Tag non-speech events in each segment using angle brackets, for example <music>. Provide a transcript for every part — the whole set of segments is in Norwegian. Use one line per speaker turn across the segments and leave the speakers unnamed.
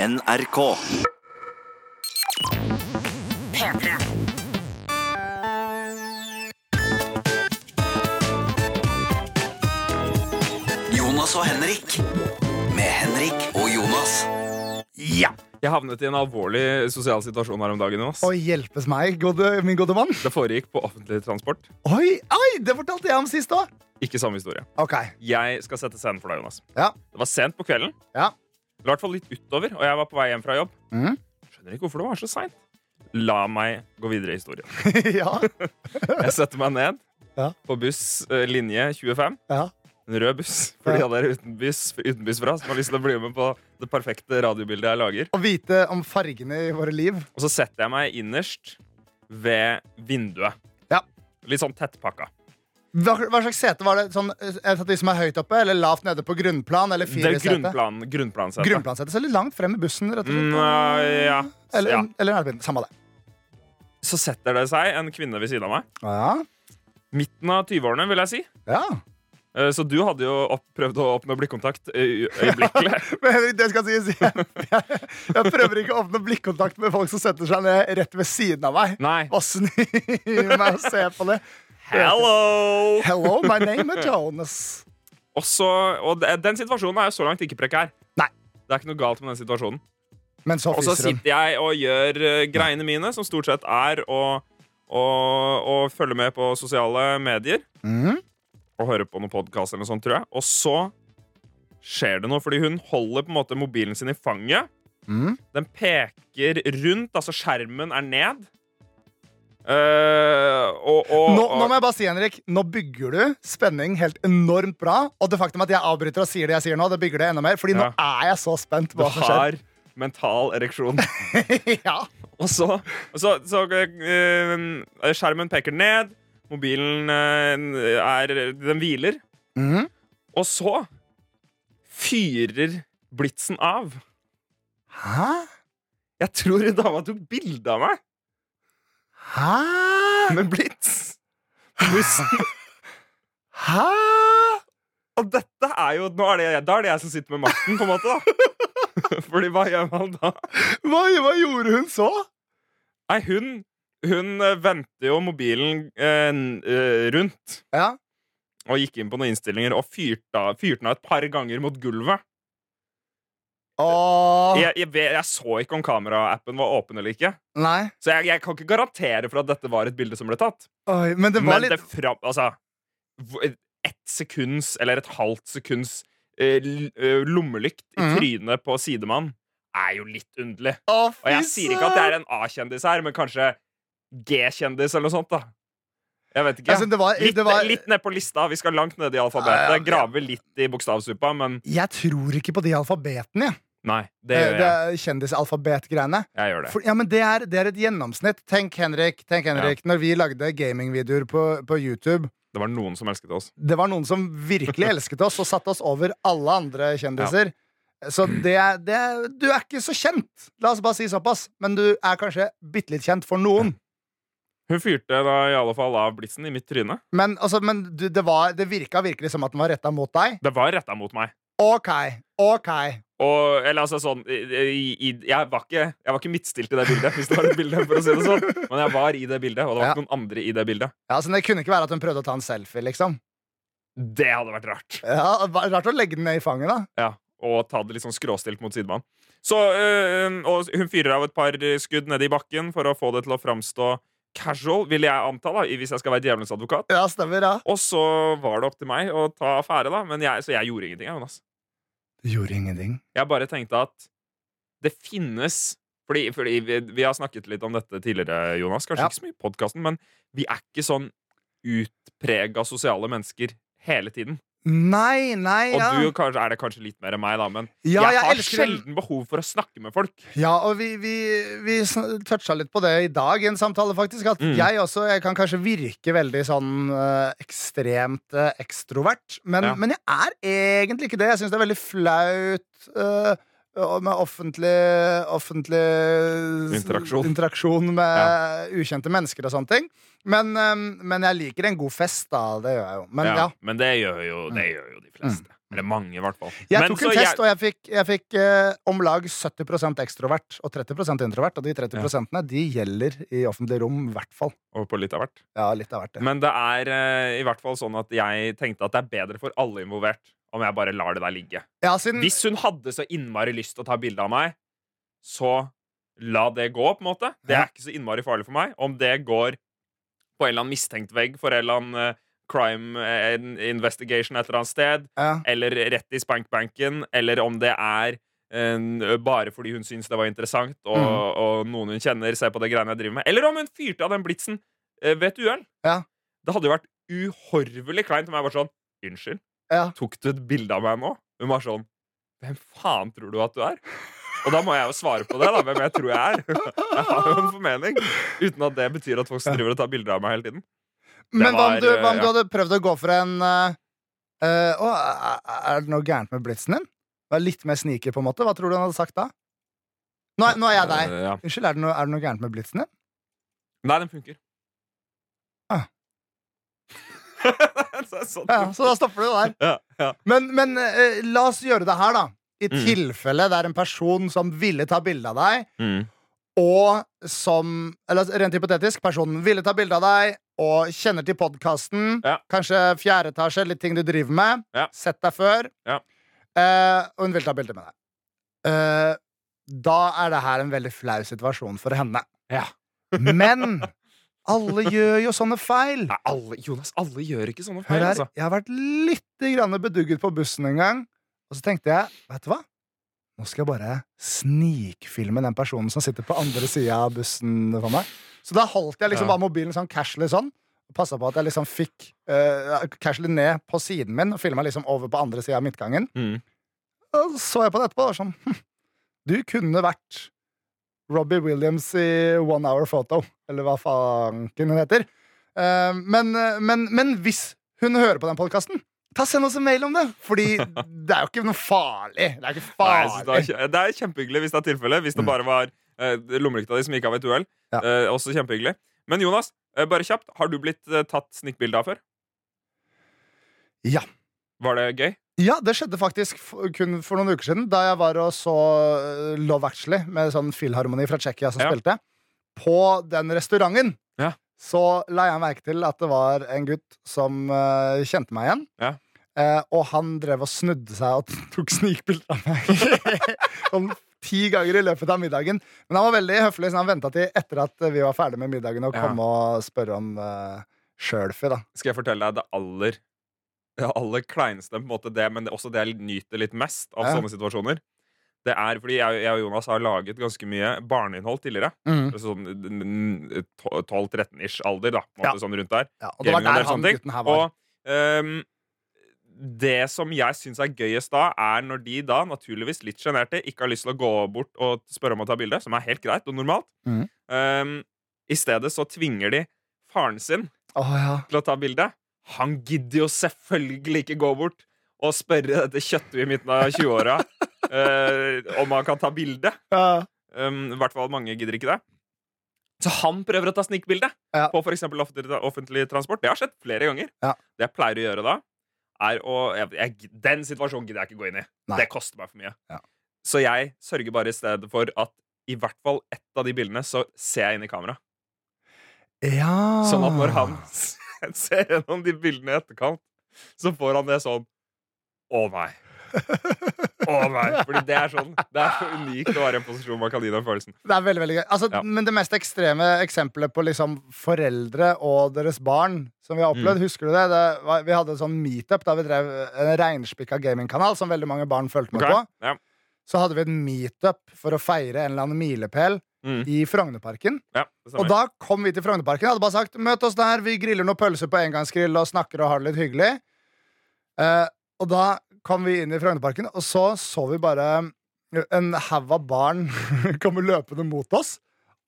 NRK. Jonas og Henrik. Med Henrik og Jonas.
Ja! Jeg havnet i en alvorlig sosial situasjon her om dagen. Jonas.
Oi, hjelpes meg, gode, min gode mann.
Det foregikk på offentlig transport.
Oi, oi, det fortalte jeg om sist òg.
Ikke samme historie.
Ok, <laughs>
Jeg skal sette scenen for deg, Jonas.
Ja.
Det var sent på kvelden.
Ja.
Det var i hvert fall litt utover, og jeg var på vei hjem fra jobb.
Mhm.
Skjønner ikke hvorfor det var så seint. La meg gå videre i historien.
ja,
Jeg setter meg ned
Ja.
på buss eh, linje 25.
ja.
En rød buss for de av dere uten buss- utenbysfra som har lyst til å bli med på det perfekte radiobildet jeg lager.
Å vite om fargene i våre liv.
Og så setter jeg meg innerst ved vinduet.
Ja.
Litt sånn tettpakka.
Hva, hva slags sete var det? Sånn, et av de som er høyt oppe, eller lavt nede på grunnplan? Eller
Det er
fire sete?
grunnplan, grunnplansete.
Grunnplansete. Så litt langt frem i bussen, rett og slett.
Mm, øh, ja.
Eller,
ja.
eller nærmere. Samme det.
Så setter det seg en kvinne ved siden av meg.
Ja.
Midten av 20-årene, vil jeg si.
ja.
Eh, Så du hadde jo opp, prøvd å oppnå blikkontakt øy- øyeblikkelig.
<laughs> Men Henrik, det skal sies. Jeg, jeg, <laughs> jeg prøver ikke å åpne blikkontakt med folk som setter seg ned rett ved siden av meg.
Nei.
Og snur meg og ser på det.
Hello!
Hello, my name is Jonas.
Og, så, og de- den situasjonen er jo så langt ikke prekær.
Nei.
Det er ikke noe galt med den situasjonen.
Men så
Og så
fryser hun.
sitter jeg og gjør eh, greiene mine, som stort sett er å, å, å følge med på sosiale medier.
Mm.
og høre på noen podkast eller noe sånt, tror jeg. Og så skjer det noe, fordi hun holder på en måte mobilen sin i fanget.
Mm.
Den peker rundt, altså skjermen er ned. Eh, og, og,
Nå, nå må jeg bare si, Henrik, nå bygger du spenning helt enormt bra. Og det faktum at jeg avbryter og sier det jeg sier nå, det bygger det enda mer. Fordi nå
Ja.
er jeg så spent på
Du
hva som skjer.
har mental ereksjon.
<laughs>
<laughs>
ja.
og så, og så, så eh, Skjermen peker ned, mobilen eh, er Den hviler.
Mhm.
Og så fyrer blitsen av.
Hæ?
Jeg tror hun dama tok bilde av meg
Hæ?
med blits. Bussen.
Hæ?
Og dette er jo nå er det, jeg- Da er det jeg som sitter med makten, på en måte. da <laughs> Fordi hva gjør man da?
Hva, hva gjorde hun så?
Nei, hun Hun eh, vendte jo mobilen eh, n- eh, rundt
Ja.
og gikk inn på noen innstillinger og fyrte av fyrte den av et par ganger mot gulvet.
Åh,
Jeg, jeg, vet- jeg så ikke om kameraappen var åpen eller ikke,
nei.
så jeg, jeg kan ikke garantere for at dette var et bilde som ble tatt.
Oi, men det var
Men det
litt
fram... Altså hvor- Ett sekunds, eller et halvt sekunds eh, l- eh, lommelykt i
Mhm.
trynet på sidemann er jo litt underlig.
Å,
Og jeg sier ikke at jeg
søren.
er en A-kjendis her, men kanskje G-kjendis eller noe sånt, da. Jeg vet ikke.
Altså, det var,
litt,
det var,
litt ned på lista. Vi skal langt ned i
Ja, ja,
alfabetet.
ja.
Grave litt i bokstavsuppa, men
Jeg tror ikke på de alfabetene, jeg.
nei. Det
Det,
gjør
Eh, det
jeg.
er kjendisalfabetgreiene.
Jeg gjør det.
For, ja, men det er, det er et gjennomsnitt. Tenk, Henrik. Tenk, Henrik. Når vi lagde gamingvideoer på, på YouTube,
Det var noen som elsket oss.
det var noen som
<laughs>
virkelig elsket oss og satte oss over alle andre kjendiser. Så det er, det er Du er ikke så kjent, la oss bare si såpass, men du er kanskje bitte litt kjent for noen.
Hun fyrte da i alle fall av blitsen i mitt tryne.
Men, altså, men du, det, var, det virka virkelig som at den var retta mot deg.
Det var retta mot meg.
OK, OK.
Og, eller altså sånn i, i, jeg, var ikke, jeg var ikke midtstilt i det bildet, hvis det var et bilde. for å si det sånn Men jeg var i det bildet, og det var
Ja.
ikke noen andre i det bildet.
<laughs> Ja, så Det kunne ikke være at hun prøvde å ta en selfie, liksom.
Det hadde vært rart.
Ja, det var Rart å legge den ned i fanget, da.
Ja, Og ta det litt sånn skråstilt mot sidemann. Så, øh, og hun fyrer av et par skudd nede i bakken for å få det til å framstå casual, vil jeg anta, da, hvis jeg skal være djevelens advokat.
Ja, stemmer, ja.
Og så var det opp til meg å ta affære, da. Men altså. jeg, så jeg gjorde ingenting. jeg, Jonas.
Du gjorde ingenting.
Jeg bare tenkte at det finnes Fordi, fordi vi, vi har snakket litt om dette tidligere, Jonas. Kanskje
Ja.
ikke så mye i podkasten, men vi er ikke sånn utprega sosiale mennesker hele tiden.
Nei, nei,
Og
ja.
du kanskje, er det kanskje litt mer enn meg, da, men
ja,
jeg, har
elsker den.
sjelden behov for å snakke med folk.
Ja, og vi, vi, vi sn- toucha litt på det i dag i en samtale, faktisk. At
Mm.
jeg også jeg kan kanskje virke veldig sånn eh, ekstremt eh, ekstrovert. Men,
Ja.
men jeg er egentlig ikke det. Jeg syns det er veldig flaut eh, og med offentlig, offentlig s-
Interaksjon.
interaksjon med ukjente mennesker og sånne ting. Men, eh, men jeg liker en god fest, da. Det gjør jeg jo. Men ja. Mm.
men det gjør jo, det gjør jo de fleste. Eller mange, i hvert fall.
Jeg
Men
tok
så
en test,
jeg-
og jeg fikk, jeg fikk eh, om lag 70 ekstrovert og 30 introvert. Og de 30 de gjelder i offentlige rom, i hvert fall.
og på litt av hvert.
Ja, litt av hvert, det.
Men det er eh, i hvert fall sånn at jeg tenkte at det er bedre for alle involvert om jeg bare lar det der ligge.
Ja, siden,
Hvis hun hadde så innmari lyst til å ta bilde av meg, så la det gå, på en måte. Det
Ja.
er ikke så innmari farlig for meg. Om det går på en eller annen mistenkt vegg for en eller annen eh, crime eh, investigation et eller annet sted,
ja.
eller rett i spankbanken, eller om det er en, bare fordi hun syns det var interessant, og,
Mhm.
og noen hun kjenner ser på det greiene jeg driver med. Eller om hun fyrte av den blitsen eh, ved et uhell.
Ja.
Det hadde jo vært uhorvelig kleint om jeg var sånn Unnskyld,
Ja.
tok du et bilde av meg nå? Hun var sånn Hvem faen tror du at du er? Og da må jeg jo svare på det, da. Hvem jeg tror jeg er. Jeg har jo en formening. Uten at det betyr at folk som driver og tar bilder av meg hele tiden.
Men hva om
var,
du, hva om
eh,
du
ja.
hadde prøvd å gå for en eh, eh, Å, er- er det noe gærent med blitsen din? Vær litt mer sneaky, på en måte. Hva tror du han hadde sagt da? Nå er, nå er jeg deg.
Eh, ja.
Unnskyld, er det noe, er det noe gærent med blitsen din?
Nei, den funker.
Ah.
<laughs> så, sånn.
Ja, så da stopper du der.
Ja, ja.
Men, men eh, la oss gjøre det her, da. I
Mm.
tilfelle det er en person som ville ta bilde av deg, og som Eller rent hypotetisk, personen ville ta bilde av deg og kjenner til podkasten.
Ja.
Kanskje fjerde etasje, litt ting du driver med.
Ja.
Sett deg før.
Ja.
Eh, og hun vil ta bilde med deg. Eh, da er det her en veldig flau situasjon for henne.
Ja.
Men alle gjør jo sånne feil.
<laughs> Nei, alle, Jonas, alle gjør ikke sånne
Hør
feil,
her,
altså.
jeg har vært litt grann bedugget på bussen en gang, og så tenkte jeg, vet du hva? Nå skal jeg bare snikfilme den personen som sitter på andre sida av bussen for meg. Så da holdt jeg liksom
Ja.
bare mobilen sånn casually sånn, og passa på at jeg liksom fikk eh, casually ned på siden min, og filma liksom over på andre sida av midtgangen.
Mm.
Og så så jeg på det etterpå, og var sånn hm, Du kunne vært Robbie Williams i One Hour Photo, eller hva fanken hun heter. Eh, men, men, men hvis hun hører på den podkasten, ta send oss en mail om det!
<laughs>
Fordi det er jo ikke noe farlig. Det
Nei,
er ikke
jeg synes
farlig.
det, er, kje- det er kjempehyggelig hvis det er tilfelle. Hvis det
Mm.
bare var eh, lommelykta di som gikk av et uhell.
Ja.
Eh, også kjempehyggelig. Men Jonas, eh, bare kjapt, har du blitt eh, tatt snikkbilde av før?
Ja.
Var det gøy?
Ja, det skjedde faktisk f kun for noen uker siden, da jeg var og så eh, Love Actually med sånn filharmoni fra Tsjekkia som
Ja.
spilte. På den restauranten
Ja.
så la jeg merke til at det var en gutt som eh, kjente meg igjen.
Ja.
Eh, og han drev og snudde seg og <laughs> tok snikbilder av meg. <laughs> sånn ti ganger i løpet av middagen. Men han var veldig høflig, så han venta til etter at vi var ferdig med middagen, og
Ja.
kom og spørre om uh, sjølfie, da.
Skal jeg fortelle deg det aller det aller kleineste, på en måte det, men det, også det jeg nyter litt mest av
Ja.
sånne situasjoner. Det er fordi jeg, jeg og Jonas har laget ganske mye barneinnhold tidligere. Altså Sånn mm, 12-13-ish alder, da. På en
Ja.
måte, sånn rundt der.
Ja, og det var
gaming og
der
del
han
sånne ting.
gutten her var.
Og ehm, det som jeg syns er gøyest da, er når de da, naturligvis litt sjenerte, ikke har lyst til å gå bort og spørre om å ta bilde, som er helt greit og normalt.
Mhm.
Ehm, I stedet så tvinger de faren sin
Å, ja.
til å ta bilde. Han gidder jo selvfølgelig ikke gå bort og spørre dette kjøttet i midten av 20-åra eh, om han kan ta bilde.
Ja.
Um, I hvert fall mange gidder ikke det. Så han prøver å ta snikbilde
Ja.
på f.eks. offentlig offentlig transport. Det har skjedd flere ganger.
Ja.
Det jeg pleier å gjøre da, er å jeg, jeg, Den situasjonen gidder jeg ikke gå inn i.
Nei.
Det koster meg for mye.
Ja.
Så jeg sørger bare i stedet for at i hvert fall ett av de bildene så ser jeg inn i kamera.
Ja.
Sånn at når
Ah. <laughs>
han <laughs> ser gjennom de bildene i etterkant, så får han det sånn Å nei. Å nei. Fordi det er sånn. Det er så unikt å være i en posisjon man kan gi den følelsen.
Det er veldig, veldig gøy. Altså,
Ja.
Men det mest ekstreme eksempelet på liksom foreldre og deres barn som vi har
Mm.
opplevd, husker du det? det var, vi hadde en sånn meetup da vi drev en reinspikka gamingkanal som veldig mange barn fulgte med
Ok?
på.
Ja.
Så hadde vi en meetup for å feire en eller annen milepæl
Mm.
i Frognerparken.
Ja, det stemmer.
Og da kom vi til Frognerparken. Hadde bare sagt møt oss der, vi griller noen pølser på engangsgrill og snakker og har det litt hyggelig. Eh, og da kom vi inn i Frognerparken, og så så vi bare en haug av barn <laughs> komme løpende mot oss.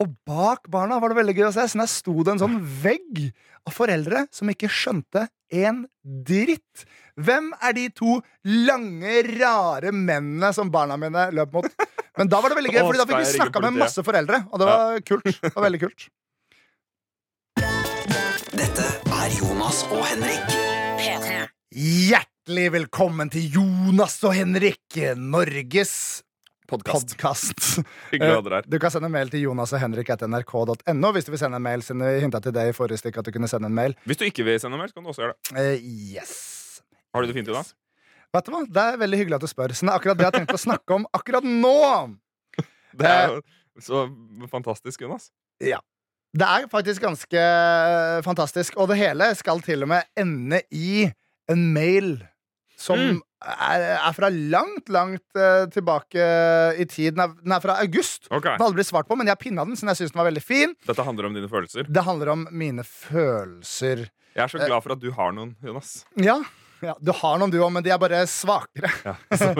Og bak barna var det veldig gøy å se. Så der sto det en sånn vegg av foreldre som ikke skjønte en dritt. Hvem er de to lange, rare mennene som barna mine løp mot? Men da var det veldig gøy, Fordi da fikk
Å,
vi
skal jeg
snakka
ringe
med
politiet?
masse foreldre, og det var kult. Det var veldig kult.
Dette er Jonas og Henrik.
Hjertelig Hjertelig velkommen til Jonas og Henrik, Norges
Podkast.
podkast.
Hyggelig å ha dere her.
Du kan sende en mail til jonas og henrik etter nrk.no hvis du vil sende en mail. Siden vi hintet til deg i forrige stikk at du kunne sende en mail.
Hvis du ikke vil sende mail, så kan du også gjøre det.
Eh, yes.
Har du det fint i dag?
Vet du hva? Det er veldig hyggelig at du spør. Siden det er akkurat det jeg har tenkt å snakke om akkurat nå.
Det er jo så fantastisk, Jonas.
Det er faktisk ganske eh, fantastisk, og det hele skal til og med ende i en mail som
Mm.
er, er fra langt, langt eh, tilbake i tid. Den er, den er fra august.
Ok,
Den har aldri blitt svart på, men jeg pinna den, siden jeg synes den var veldig fin.
Dette handler om dine følelser.
Det handler om mine følelser.
Jeg
Eh.
er så glad for at du har noen,
<laughs>
Jonas.
Ja, ja du har noen du òg, men de er bare svakere.
Ja. Så,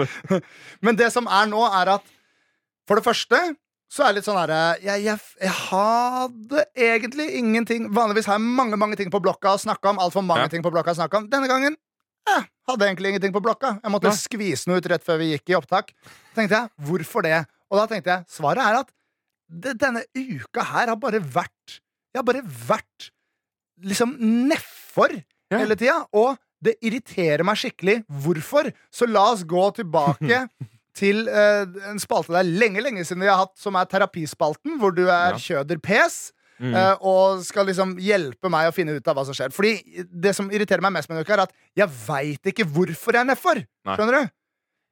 Men det som er nå, er at for det første så er det litt sånn herre jeg, jeg, jeg hadde egentlig ingenting Vanligvis har jeg mange mange ting på blokka å snakke om. Alt for mange
Ja.
ting på blokka å snakke om Denne gangen eh, hadde jeg egentlig ingenting på blokka. Jeg måtte
Nei.
skvise den ut rett før vi gikk i opptak. Så tenkte jeg, hvorfor det? Og da tenkte jeg, svaret er at det, denne uka her har bare vært Jeg har bare vært liksom nedfor
Ja.
hele tida. Og det irriterer meg skikkelig. Hvorfor? Så la oss gå
<laughs>
tilbake til eh, en spalte der lenge, lenge siden vi har hatt, som er Terapispalten, hvor du er
Ja.
kjøder pes.
mm.
eh, og skal liksom hjelpe meg å finne ut av hva som skjer. Fordi det som irriterer meg mest med en uke, er at jeg veit ikke hvorfor jeg er nedfor.
Nei.
Skjønner du?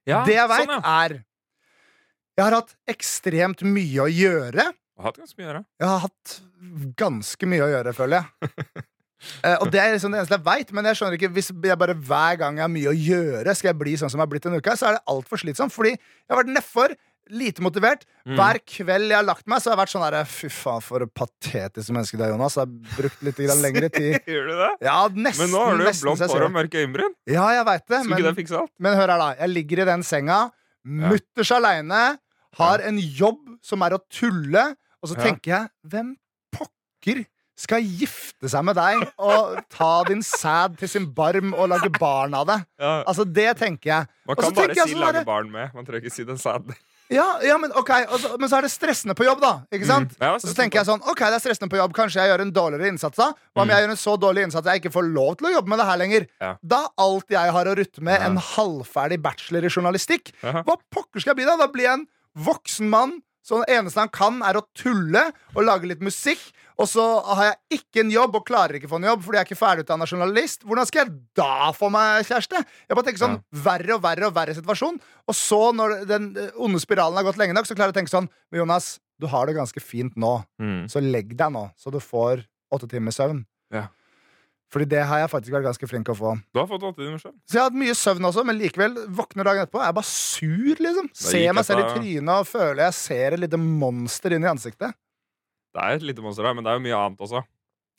Ja,
det jeg veit,
sånn, ja.
er Jeg har hatt ekstremt mye å gjøre.
Jeg har hatt ganske mye å gjøre.
Jeg har hatt ganske mye å gjøre, føler jeg.
<laughs>
Eh, og det er liksom det eneste jeg veit, men jeg skjønner ikke hvis jeg bare hver gang jeg har mye å gjøre, skal jeg bli sånn som jeg har blitt en uke, her, så er det altfor slitsomt. Fordi jeg har vært nedfor, lite motivert.
Mm.
Hver kveld jeg har lagt meg, så har jeg vært sånn herre Fy faen, for et patetisk menneske du er, Jonas. Jeg har brukt litt grann lengre
<laughs>
tid.
Mm. Gjør du det?
Ja, nesten.
Men nå har du jo
nesten,
blondt
så jeg
hår og
ser det.
mørke øyenbryn.
Ja, jeg veit det.
Skulle ikke
Men,
det fikse alt?
men hør her, da. Jeg ligger i den senga, mutters aleine, har en jobb som er å tulle, og så
Ja.
tenker jeg Hvem pokker skal gifte seg med deg og ta din sæd til sin barm og lage barn av det?
Ja.
Altså, det tenker jeg.
Man
Og så
kan bare
tenker jeg
si
sånn
'lage
derre-
barn med'. Man trenger ikke si den sæden.
Ja, ja men ok, og så, men så er det stressende på jobb, da. Ikke sant?
Mm. <laughs> Ja,
Og så tenker jeg sånn, ok, det er stressende på jobb, kanskje jeg gjør en dårligere innsats da? Hva om
Mm.
jeg gjør en så dårlig innsats at jeg ikke får lov til å jobbe med det her lenger?
Ja.
Da er alt jeg har å rutte med,
Ja.
en halvferdig bachelor i journalistikk.
Jaha.
Hva pokker skal jeg bli da? Da blir jeg en voksen mann, så det eneste han kan er å tulle og lage litt musikk, og så har jeg ikke en jobb og klarer ikke å få en jobb fordi jeg er ikke ferdigutdannet journalist. Hvordan skal jeg da få meg kjæreste? Jeg bare tenker sånn, verre og verre og verre situasjon, og så når den eh, onde spiralen har gått lenge nok, så klarer jeg å tenke sånn, men Jonas, du har det ganske fint nå.
Mm.
Så legg deg nå, så du får åtte timer søvn.
Ja.
Fordi det har jeg faktisk vært ganske flink å få.
Du har fått åtte timer søvn.
Så jeg har hatt mye søvn også, men likevel våkner dagen etterpå. Jeg er bare sur, liksom.
gikk
Ser meg selv i
dette-
trynet og føler jeg ser et lite monster inn i ansiktet.
Det er et lite monster her, men det er jo mye annet også.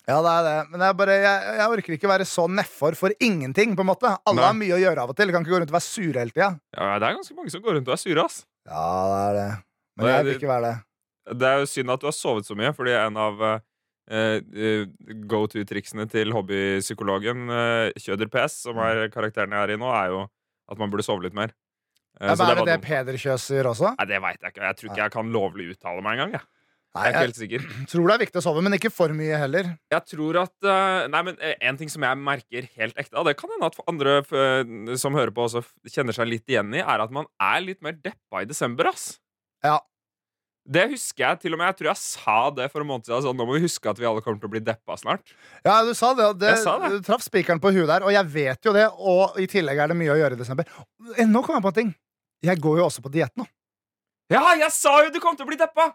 Ja, det er det. Men jeg, bare, jeg, jeg orker ikke være så nedfor for ingenting, på en måte. Alle
Nei.
har mye å gjøre av og til. Kan ikke gå rundt og være sure hele tida.
Ja, det er ganske mange som går rundt og er sure, ass.
Ja, det er det. Men
Nei,
jeg vil
det-
ikke være det.
Det er jo synd at du har sovet så mye, fordi en av eh, eh, go to-triksene til hobbypsykologen eh, Kjøder PS, som er karakteren jeg er i nå, er jo at man burde sove litt mer. Eh,
Men
så det
er det
var
det
dumt.
Peder Kjøs gjør også?
Nei, det veit jeg ikke. Jeg tror ikke jeg kan lovlig uttale meg engang. Jeg.
Nei,
jeg er ikke
jeg
helt sikker.
tror det er viktig å sove, men ikke for mye heller.
Jeg tror at eh, Nei, men eh, en ting som jeg merker helt ekte, og det kan hende at andre eh, som hører på, også f- kjenner seg litt igjen i, er at man er litt mer deppa i desember, ass.
Ja.
Det husker jeg til og med. Jeg tror jeg sa det for en måned siden. Sånn, nå må vi huske at vi alle kommer til å bli deppa snart.
Ja, du sa det, og det,
Jeg sa det.
du traff spikeren på huet der, og jeg vet jo det, og i tillegg er det mye å gjøre i desember. Eh, Nå kom jeg på en ting. Jeg går jo også på diett nå.
Ja, jeg sa jo du kom til å bli deppa!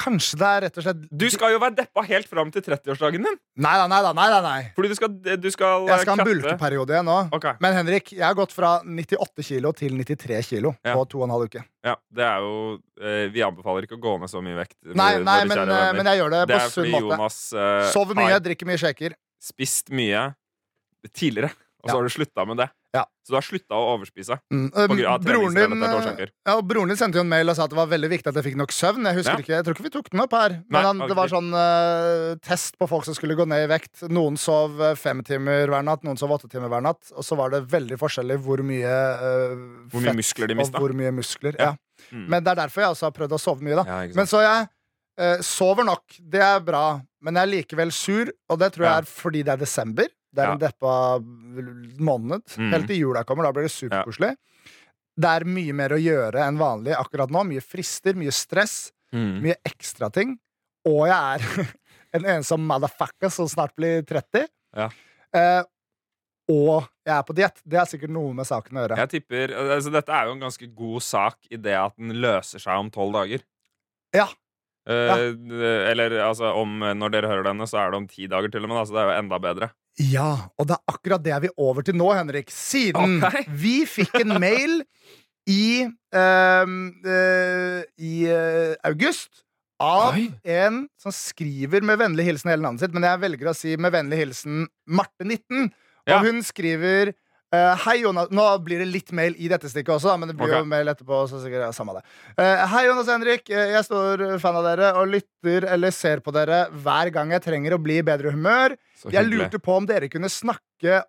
Kanskje det er rett og slett
Du skal jo være deppa helt fram til 30-årsdagen din.
Nei da, nei da, nei da, nei.
Fordi du skal, du skal
Jeg skal ha en
eh, kutte-
bulkeperiode igjen nå.
Ok,
Men Henrik, jeg har gått fra 98 kilo til 93 kilo
Ja.
på to og en halv uke.
ja, det er jo eh, Vi anbefaler ikke å gå ned så mye vekt.
Nei,
våre
nei
kjære
men, eh,
venner.
men jeg gjør det
det
på
er
sunn
fordi
måte.
Jonas eh,
Sover
har
mye, drikker mye shaker.
spist mye tidligere, og så
Ja.
har du slutta med det.
Ja.
Så du har slutta å overspise.
Mm.
På grunn av
eh, Broren
treningsstedet
din
til
eh,
årsaker.
Ja, og broren din sendte jo en mail og sa at det var veldig viktig at jeg fikk nok søvn. Jeg husker
Ja.
ikke, jeg tror ikke vi tok den opp her Men
Nei,
han, det var
aldri.
sånn eh, test på folk som skulle gå ned i vekt. Noen sov eh, fem timer hver natt, noen sov åtte timer hver natt. Og så var det veldig forskjellig hvor mye eh,
Hvor mye
fett
muskler de mistet.
Og hvor mye muskler,
Ja.
ja.
Mm.
Men det er derfor jeg også har prøvd å sove mye. da
Ja, ikke sant?
Men så jeg eh, sover nok. Det er bra. Men jeg er likevel sur, og det tror
Ja.
jeg er fordi det er desember. Det er
Ja.
en deppa måned.
Mm.
Helt til jula kommer. Da blir det superkoselig. Det er mye mer å gjøre enn vanlig akkurat nå. Mye frister, mye stress,
Mm.
mye ekstrating. Og jeg er <laughs> en ensom motherfucker som snart blir 30.
Ja.
Eh, og jeg er på diett. Det har sikkert noe med saken å gjøre.
Jeg tipper, altså Dette er jo en ganske god sak i det at den løser seg om tolv dager.
Ja.
Eh, Eller altså, om, når dere hører denne, så er det om ti dager til og med. Da, så det er jo enda bedre.
Ja, og det er akkurat det vi er over til nå, Henrik. Siden
Ok. <laughs>
vi fikk en mail i ehm, eh, I eh, august av
Oi.
en som skriver med vennlig hilsen hele navnet sitt, men jeg velger å si med vennlig hilsen Marte19. Og
Ja.
hun skriver eh, Hei, Jonas Nå blir det litt mail i dette stikket også, da, men det blir
Ok.
jo mail etterpå. Så sikkert, ja, samme det. Eh, Hei, Jonas og Henrik. Eh, Jeg står fan av dere og lytter eller ser på dere hver gang jeg trenger å bli i bedre humør.
Så
Jeg
hyggelig.
lurte på om dere kunne snakke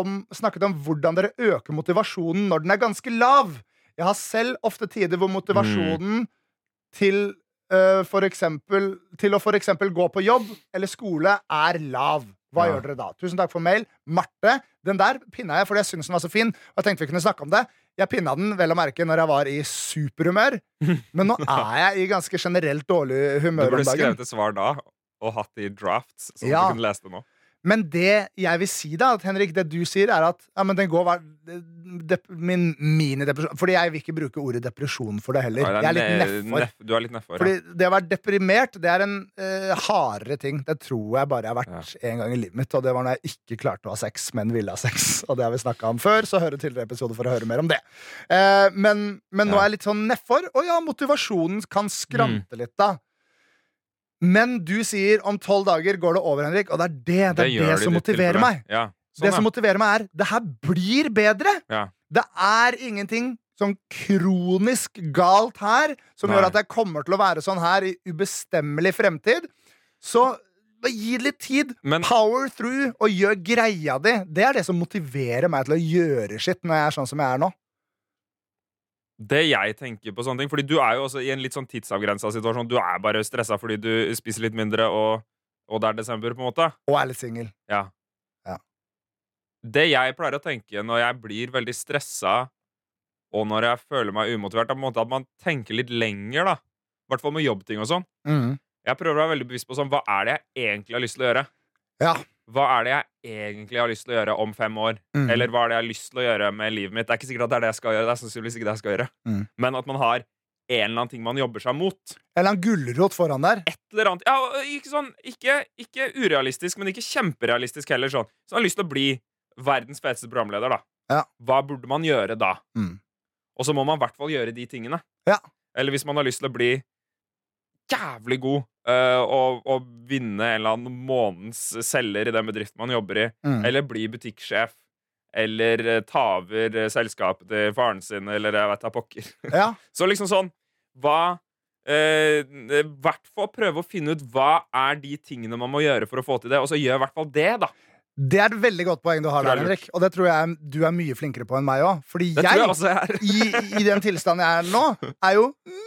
om, snakket om hvordan dere øker motivasjonen når den er ganske lav. Jeg har selv ofte tider hvor
Mm.
motivasjonen til, øh, for eksempel, til å for eksempel gå på jobb eller skole er lav. Hva
Ja.
gjør dere da? Tusen takk for mail. Marte, den der pinna jeg fordi jeg syntes den var så fin. Og jeg tenkte vi kunne snakke om det. Jeg pinna den vel å merke når jeg var i superhumør,
<laughs>
men nå er jeg i ganske generelt dårlig
Du
humør
burde
om dagen.
skrevet et svar da, og hatt det i drafts, så
Ja.
du kunne lese det nå.
Men det jeg vil si, da, at Henrik, det du sier, er at ja, men den går hver, dep, min minidepresjon Fordi jeg vil ikke bruke ordet depresjon for det
Ja,
heller.
det
Jeg er litt
ne-
nedfor.
neff- du er litt nedfor.
Fordi det å være deprimert, det er en eh, hardere ting. Det tror jeg bare jeg har vært en gang i livet mitt, og det var når jeg ikke klarte å ha sex, men ville ha sex. Og det har vi snakka om før, så hør en tidligere episode for å høre mer om det. Eh, men, men
Ja. Mm.
nå er jeg litt sånn nedfor, og ja, motivasjonen kan skrante litt, da. Men du sier om tolv dager går det over, Henrik, og det er det, det,
gjør de
er det som
litt til
motiverer
for
meg.
deg. Ja. Sånn,
Det som
ja.
motiverer meg, er det her blir bedre.
Ja.
Det er ingenting sånn kronisk galt her som
Nei.
gjør at jeg kommer til å være sånn her i ubestemmelig fremtid. Så bare gi det litt tid.
Men-
Power through og gjør greia di. Det er det som motiverer meg til å gjøre shit når jeg er sånn som jeg er nå.
Det jeg tenker på sånne ting Fordi du er jo også i en litt sånn tidsavgrensa situasjon. Du er bare stressa fordi du spiser litt mindre, og, og det er desember, på en måte.
Og er litt singel.
Ja.
Ja.
Det jeg pleier å tenke når jeg blir veldig stressa, og når jeg føler meg umotivert, er på en måte at man tenker litt lenger, da. I hvert fall med jobbting og sånn.
Mhm.
Jeg prøver å være veldig bevisst på sånn, hva er det jeg egentlig har lyst til å gjøre?
Ja.
Hva er det jeg egentlig har lyst til å gjøre om fem år?
Mhm.
Eller hva er det jeg har lyst til å gjøre med livet mitt? Det er ikke sikkert at det er det jeg skal gjøre. Det er sannsynligvis ikke det jeg skal gjøre.
Mm.
Men at man har en eller annen ting man jobber seg mot.
Eller en gulrot foran der.
Et eller annet. Ja, og ikke, sånn, ikke, ikke urealistisk, men ikke kjemperealistisk heller. Sånn. Så man har lyst til å bli verdens feteste programleder, da.
Ja.
Hva burde man gjøre da?
Mm.
Og så må man i hvert fall gjøre de tingene.
Ja.
Eller hvis man har lyst til å bli jævlig god øh, og, og vinne en eller annen månedens selger i den bedriften man jobber i,
Mhm.
eller bli butikksjef. Eller eh, ta over eh, selskapet til faren sin, eller jeg vet da pokker.
Ja.
Så liksom sånn Hva eh, hvert fall prøve å finne ut hva er de tingene man må gjøre for å få til det, og så gjør i hvert fall det, da.
Det er et veldig godt poeng du har
Det er
der, Henrik. Og det tror jeg du er mye flinkere på enn meg òg. Fordi
Det tror
jeg
jeg også jeg er.
i, i den tilstanden jeg er nå, er jo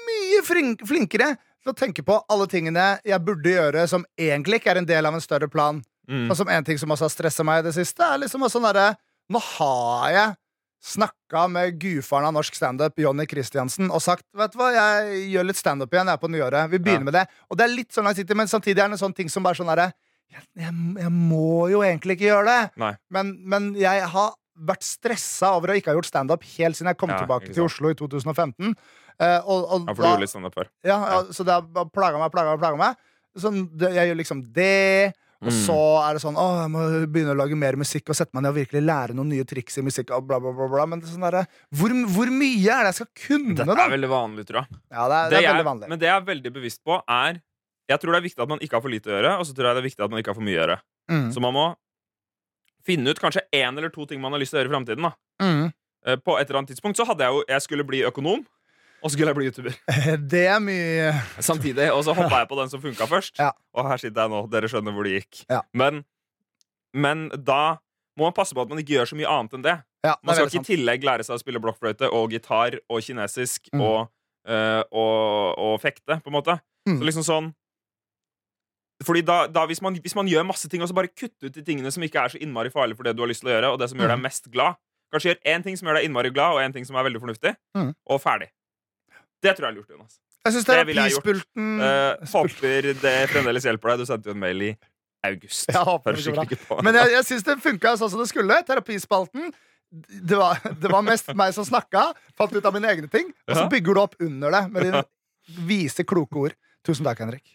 mye flink, flinkere til å tenke på alle tingene jeg burde gjøre, som egentlig ikke er en del av en større plan.
Mm.
Og som en ting som også har stressa meg i det siste, er liksom også sånn derre Nå har jeg snakka med gudfaren av norsk standup, Jonny Christiansen, og sagt Vet du hva, jeg gjør litt standup igjen, jeg er på nyåret. Vi begynner
Ja.
med det. Og det er litt sånn langsiktig, men samtidig er det en sånn ting som bare sånn derre jeg, jeg, jeg må jo egentlig ikke gjøre det.
Nei.
Men, men jeg har vært stressa over å ikke ha gjort standup helt siden jeg kom
Ja,
tilbake
ikke
til
sant.
Oslo i 2015. Eh, og, og
Ja, for du
da-
gjorde litt standup før.
ja, ja, Så det har bare plaga meg, plaga meg, plaga meg. Sånn, det, jeg gjør liksom det. Og
Mm.
så er det sånn Å, jeg må begynne å lage mer musikk og sette meg ned og virkelig lære noen nye triks i musikk. Og bla, bla, bla, bla. Men det er sånn derre, hvor, hvor mye er det jeg skal kunne,
Dette
da?
er veldig vanlig, tror jeg.
Ja, det er, det er veldig vanlig.
Men det jeg er veldig bevisst på, er Jeg tror det er viktig at man ikke har for lite å gjøre, og så tror jeg det er viktig at man ikke har for mye å gjøre.
Mm,
Så man må finne ut kanskje én eller to ting man har lyst til å gjøre i framtiden. da.
mm. <laughs>
Eh, På et eller annet tidspunkt så hadde jeg jo Jeg skulle bli økonom, og så skulle jeg bli YouTuber.
Det er mye
Samtidig, Og så hoppa jeg på den som funka først.
Ja.
Og her sitter jeg nå. Dere skjønner hvor det gikk.
Ja.
Men, men da må man passe på at man ikke gjør så mye annet enn det. Man
ja, det er
skal
veldig
ikke
sant.
i tillegg lære seg å spille blokkfløyte og gitar og kinesisk
Mm.
og, eh, og, og fekte, på en måte.
Mm.
Så liksom sånn Fordi da, da hvis, man, hvis man gjør masse ting, og så bare kutte ut de tingene som ikke er så innmari farlige for det du har lyst til å gjøre, og det som gjør deg
Mm.
mest glad Kanskje gjør én ting som gjør deg innmari glad, og én ting som er veldig fornuftig,
Mm.
og ferdig. Det tror jeg er lurt, Jonas.
Jeg syns
Det ville jeg gjort.
terapispulten
Eh, håper det fremdeles hjelper deg. Du sendte jo en mail i
<laughs>
august.
Jeg håper
Hører
det går
sikkert ikke på.
Men jeg, jeg syns det funka sånn som det skulle. Terapispalten. Det var, det var mest meg som snakka, fant ut av mine egne ting. Og så
Ja.
bygger du opp under det med
<laughs>
dine vise, kloke ord. Tusen takk, Henrik.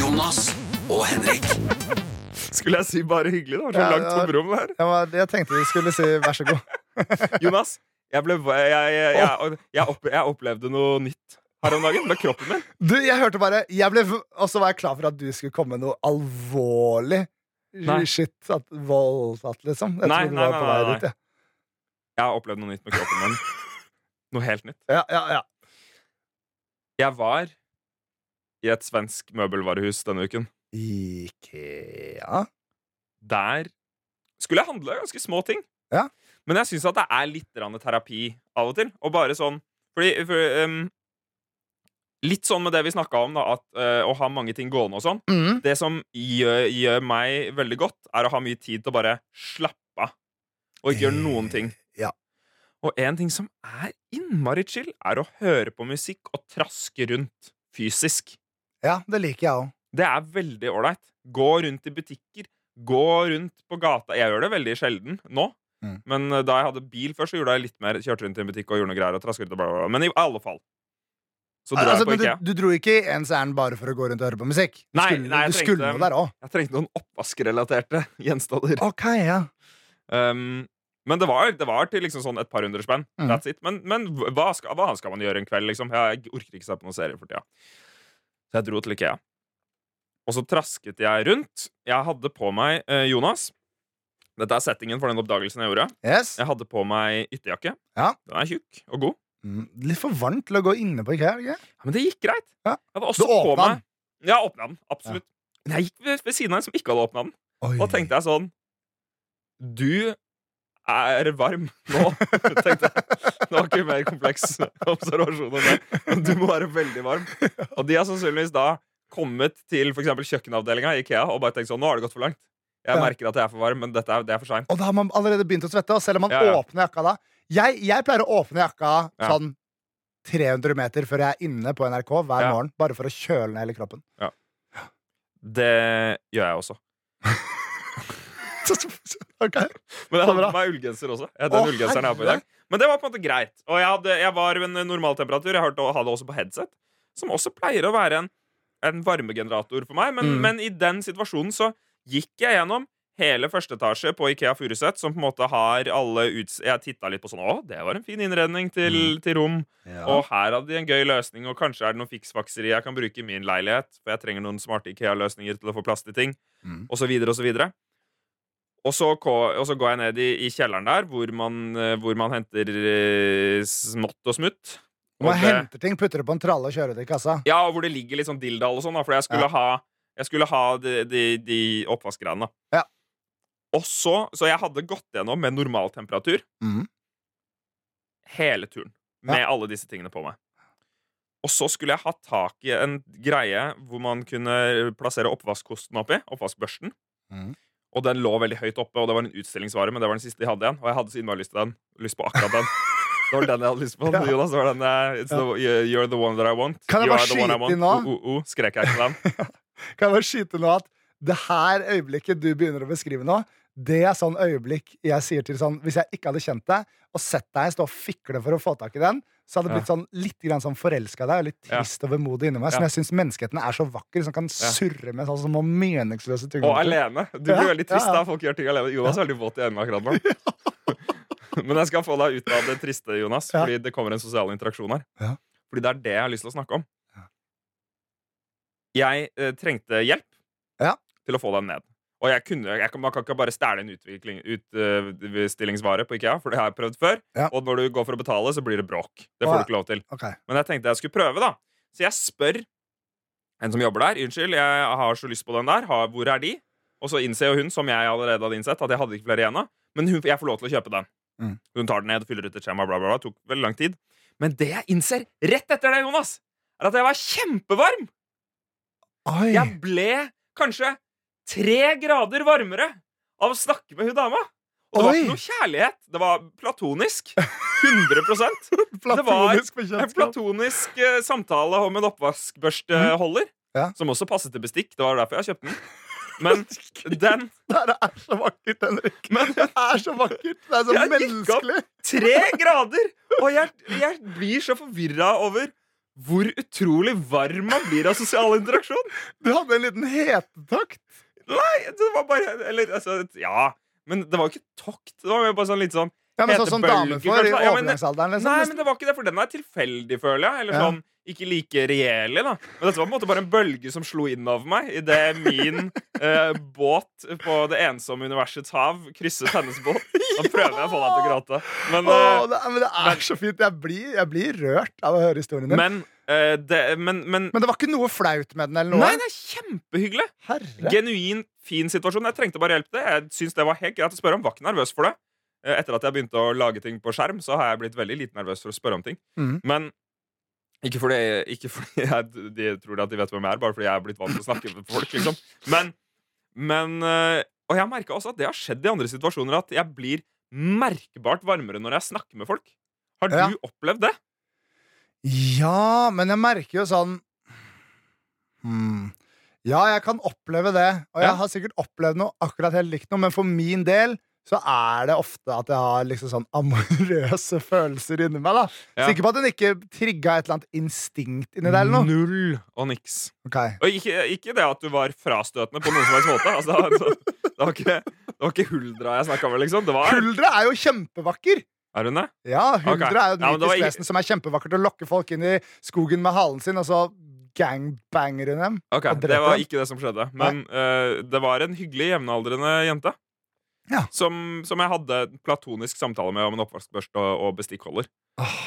Jonas og Henrik.
<laughs> Skulle jeg si bare hyggelig? Det var så
Ja,
langt
det var-
tomrom der.
Jeg, var, jeg tenkte du skulle si vær så god.
Jonas, jeg, ble, jeg, jeg, jeg, jeg, opp, jeg opplevde noe nytt her om dagen med kroppen min.
Du, jeg hørte bare jeg ble, v- Og så var jeg klar for at du skulle komme med noe alvorlig
Nei.
shit. At, voldtatt, liksom. Jeg
Nei,
trodde du
nei,
var på
nei,
vei
nei,
dit. jeg.
Jeg har opplevd noe nytt med kroppen
<laughs>
min. Noe helt nytt.
Ja, ja, ja.
Jeg var i et svensk møbelvarehus denne uken.
Ikea?
Der skulle jeg handle ganske små ting.
Ja.
Men jeg syns at det er litt grann terapi av og til. Og bare sånn Fordi for, ehm, Litt sånn med det vi snakka om, da, at eh, å ha mange ting gående og sånn.
Mm.
Det som gjør, gjør meg veldig godt, er å ha mye tid til å bare slappe av. Og ikke gjøre noen ting.
Eh, Ja.
Og en ting som er innmari chill, er å høre på musikk og traske rundt fysisk.
Ja, det liker jeg òg.
Det er veldig ålreit. Gå rundt i butikker, gå rundt på gata. Jeg gjør det veldig sjelden nå.
Mm.
Men eh, da jeg hadde bil først, så gjorde jeg litt mer. Kjørte rundt i en butikk og gjorde noe greier og trasket ut og bla, bla, bla. Men i alle fall. Så dro
Altså,
jeg på
men du,
IKEA.
du dro ikke i ens ærend bare for å gå rundt og høre på musikk? Du
Nei,
skulle,
nei, jeg
du skulle
trengte-
jo der òg.
Jeg trengte noen oppvaskrelaterte gjenstander.
Ok, ja.
Um, men det var, det var til liksom sånn et par hundre spenn.
Mhm.
That's it. Men, men hva, skal, hva skal man gjøre en kveld? Liksom? Jeg orker ikke se på noen serie for tida. Så jeg dro til Ikea. Og så trasket jeg rundt. Jeg hadde på meg eh, Jonas. Dette er settingen for den oppdagelsen jeg gjorde.
Yes.
Jeg hadde på meg ytterjakke.
Ja.
Den er tjukk og god.
Mm, Litt for varmt til å gå inne på IKEA. er det Ikke?
Ja, men det gikk greit.
Ja.
Jeg hadde
Du
også på
åpna
meg
den?
Ja, åpna den. Absolutt. Men jeg gikk ved, ved siden av en som ikke hadde åpna den.
Oi.
Og da tenkte jeg sånn Du er varm nå, <laughs> tenkte jeg. Det var ikke mer kompleks observasjon enn det. Men du må være veldig varm. Og de har sannsynligvis da kommet til for eksempel kjøkkenavdelinga i Ikea og bare tenkt sånn Nå har det gått for langt. Jeg
Ja.
merker at jeg er for varm, men dette er, det er for seint.
Og da har man allerede begynt å svette, og selv om man
Ja, ja.
åpner jakka da jeg, jeg pleier å åpne jakka
Ja.
sånn 300 meter før jeg er inne på NRK hver
Ja.
morgen, bare for å kjøle ned hele kroppen. <laughs>
Det gjør jeg også.
Ok.
Men jeg
Så
hadde
bra.
på meg ullgenser også. Jeg hadde
Å,
en ullgenseren jeg har på i dag. Men det var på en måte greit. Og jeg, hadde, jeg var ved en normaltemperatur. Jeg hørte å ha det også på headset, som også pleier å være en, en varmegenerator for meg. Men,
Mm.
men i den situasjonen så gikk jeg gjennom hele første etasje på Ikea Furuset, som på en måte har alle uts... Jeg titta litt på sånn Å, det var en fin innredning til, til rom. Og her hadde de en gøy løsning, og kanskje er det noen fiksfakseri jeg kan bruke i min leilighet, for jeg trenger noen smarte IKEA-løsninger til å få plass til ting,
Mm.
og så videre og så videre. Og så, ko- og så går jeg ned i, i kjelleren der, hvor man, eh, hvor man henter eh, smått og smutt.
Og man
det-
henter ting, putter det på en tralle og kjører det i kassa.
ja, og hvor det ligger litt sånn dilldall og sånn, da, fordi jeg skulle
Ja.
ha, jeg skulle ha de, de, de oppvaskgreiene. da.
Ja.
Og så, så jeg hadde gått gjennom med normaltemperatur
Mhm.
hele turen. Med alle disse tingene på meg. Og så skulle jeg ha tak i en greie hvor man kunne plassere oppvaskkosten oppi. Oppvaskbørsten.
Mhm.
Og den lå veldig høyt oppe, og det var en utstillingsvare, men det var den siste de hadde igjen. Og jeg hadde så innmari lyst til den. Lyst på akkurat den. <laughs> Det var den jeg hadde lyst på.
Ja.
Jonas, det var den jeg, it's the, You're the one that I want.
Kan jeg
you
bare
are the one I
skyte
want.
inn nå?
Oh, oh, oh, skrek jeg ikke den.
Kan jeg bare skyte nå at det her øyeblikket du begynner å beskrive nå, det er sånn øyeblikk jeg sier til sånn Hvis jeg ikke hadde kjent deg, og sett deg stå og fikle for å få tak i den, så hadde det blitt sånn litt grann sånn forelska i deg og litt
Ja.
trist og vemodig inni meg. Som
Ja.
jeg syns menneskeheten er så vakker, som kan surre med sånn små meningsløse ting.
Og alene. Du blir
Ja,
veldig trist
ja, ja.
da folk gjør ting alene. Jonas er veldig våt i øynene
<laughs>
akkurat nå. <laughs> Men jeg skal få deg ut av det triste, Jonas,
Ja.
fordi det kommer en sosial interaksjon her.
Ja.
Fordi det er det jeg har lyst til å snakke om.
Ja.
Jeg eh, trengte hjelp
Ja.
til å få den ned. Og jeg kunne, jeg, kan- man kan ikke bare stjele en utvikling- utstillingsvare på Ikea, for det har jeg prøvd før.
Ja.
Og når du går for å betale, så blir det bråk. Det
Å,
får
ja.
du ikke lov til.
Ok.
Men jeg tenkte jeg skulle prøve, da. Så jeg spør en som jobber der. 'Unnskyld, jeg har så lyst på den der. Ha- Hvor er de?' Og så innser jo hun, som jeg allerede hadde innsett, at jeg hadde ikke flere igjen av. Men hun, jeg får lov til å kjøpe den.
Mm.
Hun tar den ned, fyller ut et skjema, bla, bla, bla. Tok veldig lang tid. Men det jeg innser rett etter det, Jonas, er at jeg var kjempevarm!
Oi.
Jeg ble kanskje tre grader varmere av å snakke med hun dama. Og det var
Oi.
ikke noe kjærlighet. Det var platonisk. 100
Platonisk
En
bekjentskap.
platonisk eh, samtale om en oppvaskbørsteholder.
Ja.
Som også passet til bestikk. Det var derfor jeg kjøpte den. Men den
Det er så vakkert, Henrik.
Men
Det er så vakkert. Det er så
Jeg gikk opp.
menneskelig.
tre grader! Og jeg, jeg blir så forvirra over hvor utrolig varm man blir av sosial interaksjon.
Du hadde en liten hetetakt.
Nei, det var bare Eller altså, ja. Men det var jo ikke tokt. Det var jo bare sånn litt sånn
Ja, men
Hete
sånn som
bølger,
damer får i
kanskje. Ja, men-
overgangsalderen.
Nei,
Liksom.
men det var ikke det, for den er tilfeldig, føler jeg. Eller
Ja.
sånn ikke like reell. da. Men dette var på en måte bare en bølge som slo innover meg idet min eh, båt på det ensomme universets hav krysset hennes båt. Da prøver jeg å få deg til å gråte. Men, eh,
Åh, det, er- men det er så fint. Jeg blir, jeg blir rørt av å høre historien din.
men,
Men,
eh, det, men, men
det var ikke noe flaut med den? eller noe?
Nei, det er kjempehyggelig.
Herre.
Genuint fin situasjon. Jeg trengte bare hjelp til det. Jeg synes det var helt greit å spørre om. Var ikke nervøs for det. Eh, Etter at jeg begynte å lage ting på skjerm, så har jeg blitt veldig lite nervøs for å spørre om ting.
Mhm.
Men ikke fordi, ikke fordi <laughs> jeg, de tror at de vet hvem jeg er, bare fordi jeg er blitt vant til å snakke med folk. liksom. Men, men eh, Og jeg merka også at det har skjedd i andre situasjoner, at jeg blir merkbart varmere når jeg snakker med folk. Har du
Ja.
opplevd det?
Ja, men jeg merker jo sånn hmm. Ja, jeg kan oppleve det. Og jeg
Ja.
har sikkert opplevd noe akkurat helt likt noe, men for min del så er det ofte at jeg har liksom sånn amorøse <laughs> følelser inni meg. da
Ja.
Sikker på at den ikke trigga et eller annet instinkt inni deg eller noe.
Null og niks.
Ok.
Og ikke, ikke det at du var frastøtende på noen som helst måte. Altså, <laughs> det, var- det, var ikke, det var ikke huldra jeg snakka med, liksom. Det var,
Huldra er jo kjempevakker!
er hun det?
Ja, huldra
Ok.
er jo et
Ja, men det
mytisk
var ikke-
vesen som er kjempevakkert og lokker folk inn i skogen med halen sin, og så gangbanger hun dem.
Ok,
Og dreper
Det var
dem.
ikke det som skjedde. Men eh, det var en hyggelig jevnaldrende jente.
Ja.
Som, som jeg hadde en platonisk samtale med om en oppvaskbørste og, og bestikkholder.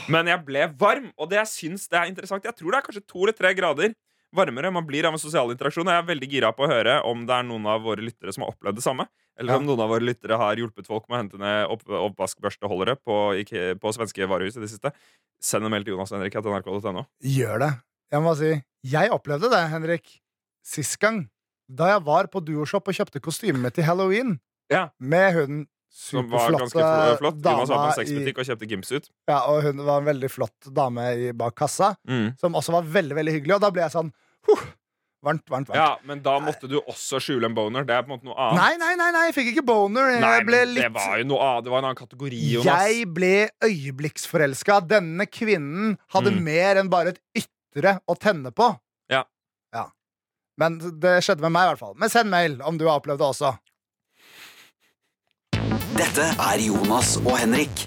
Men jeg ble varm, og det jeg syns det er interessant Jeg tror det er kanskje to eller tre grader varmere man blir av en sosial interaksjon. Og jeg er veldig gira på å høre om det er noen av våre lyttere som har opplevd det samme. Eller
Ja.
om noen av våre lyttere har hjulpet folk med å hente ned opp, oppvaskbørsteholdere på, Ike- på svenske varehus i det siste. Send en mail til Jonas og Henrik etter nrk.no.
Gjør det. Jeg må si Jeg opplevde det, Henrik, sist gang. Da jeg var på Duoshop og kjøpte kostymet mitt til halloween.
Ja.
Med hun
Som var ganske
superflotte
fl- flott. Jonas var på
dama
en
i
sexbutikk og kjøpte gimsuit.
Ja, og hun var en veldig flott dame i bak kassa,
Mm.
som også var veldig veldig hyggelig. Og da ble jeg sånn huh, Varmt, varmt, varmt.
Ja, men da måtte du også skjule en boner. Det er på en måte noe annet.
Nei, nei, nei, nei, jeg fikk ikke boner. Jeg
Nei,
ble
men Det
litt
var jo noe annet. Det var en annen kategori, Jonas.
Jeg ble øyeblikksforelska. Denne kvinnen hadde
Mm.
mer enn bare et ytre å tenne på.
Ja.
Ja. Men det skjedde med meg, i hvert fall. Men send mail om du har opplevd det også.
Dette er Jonas og Henrik.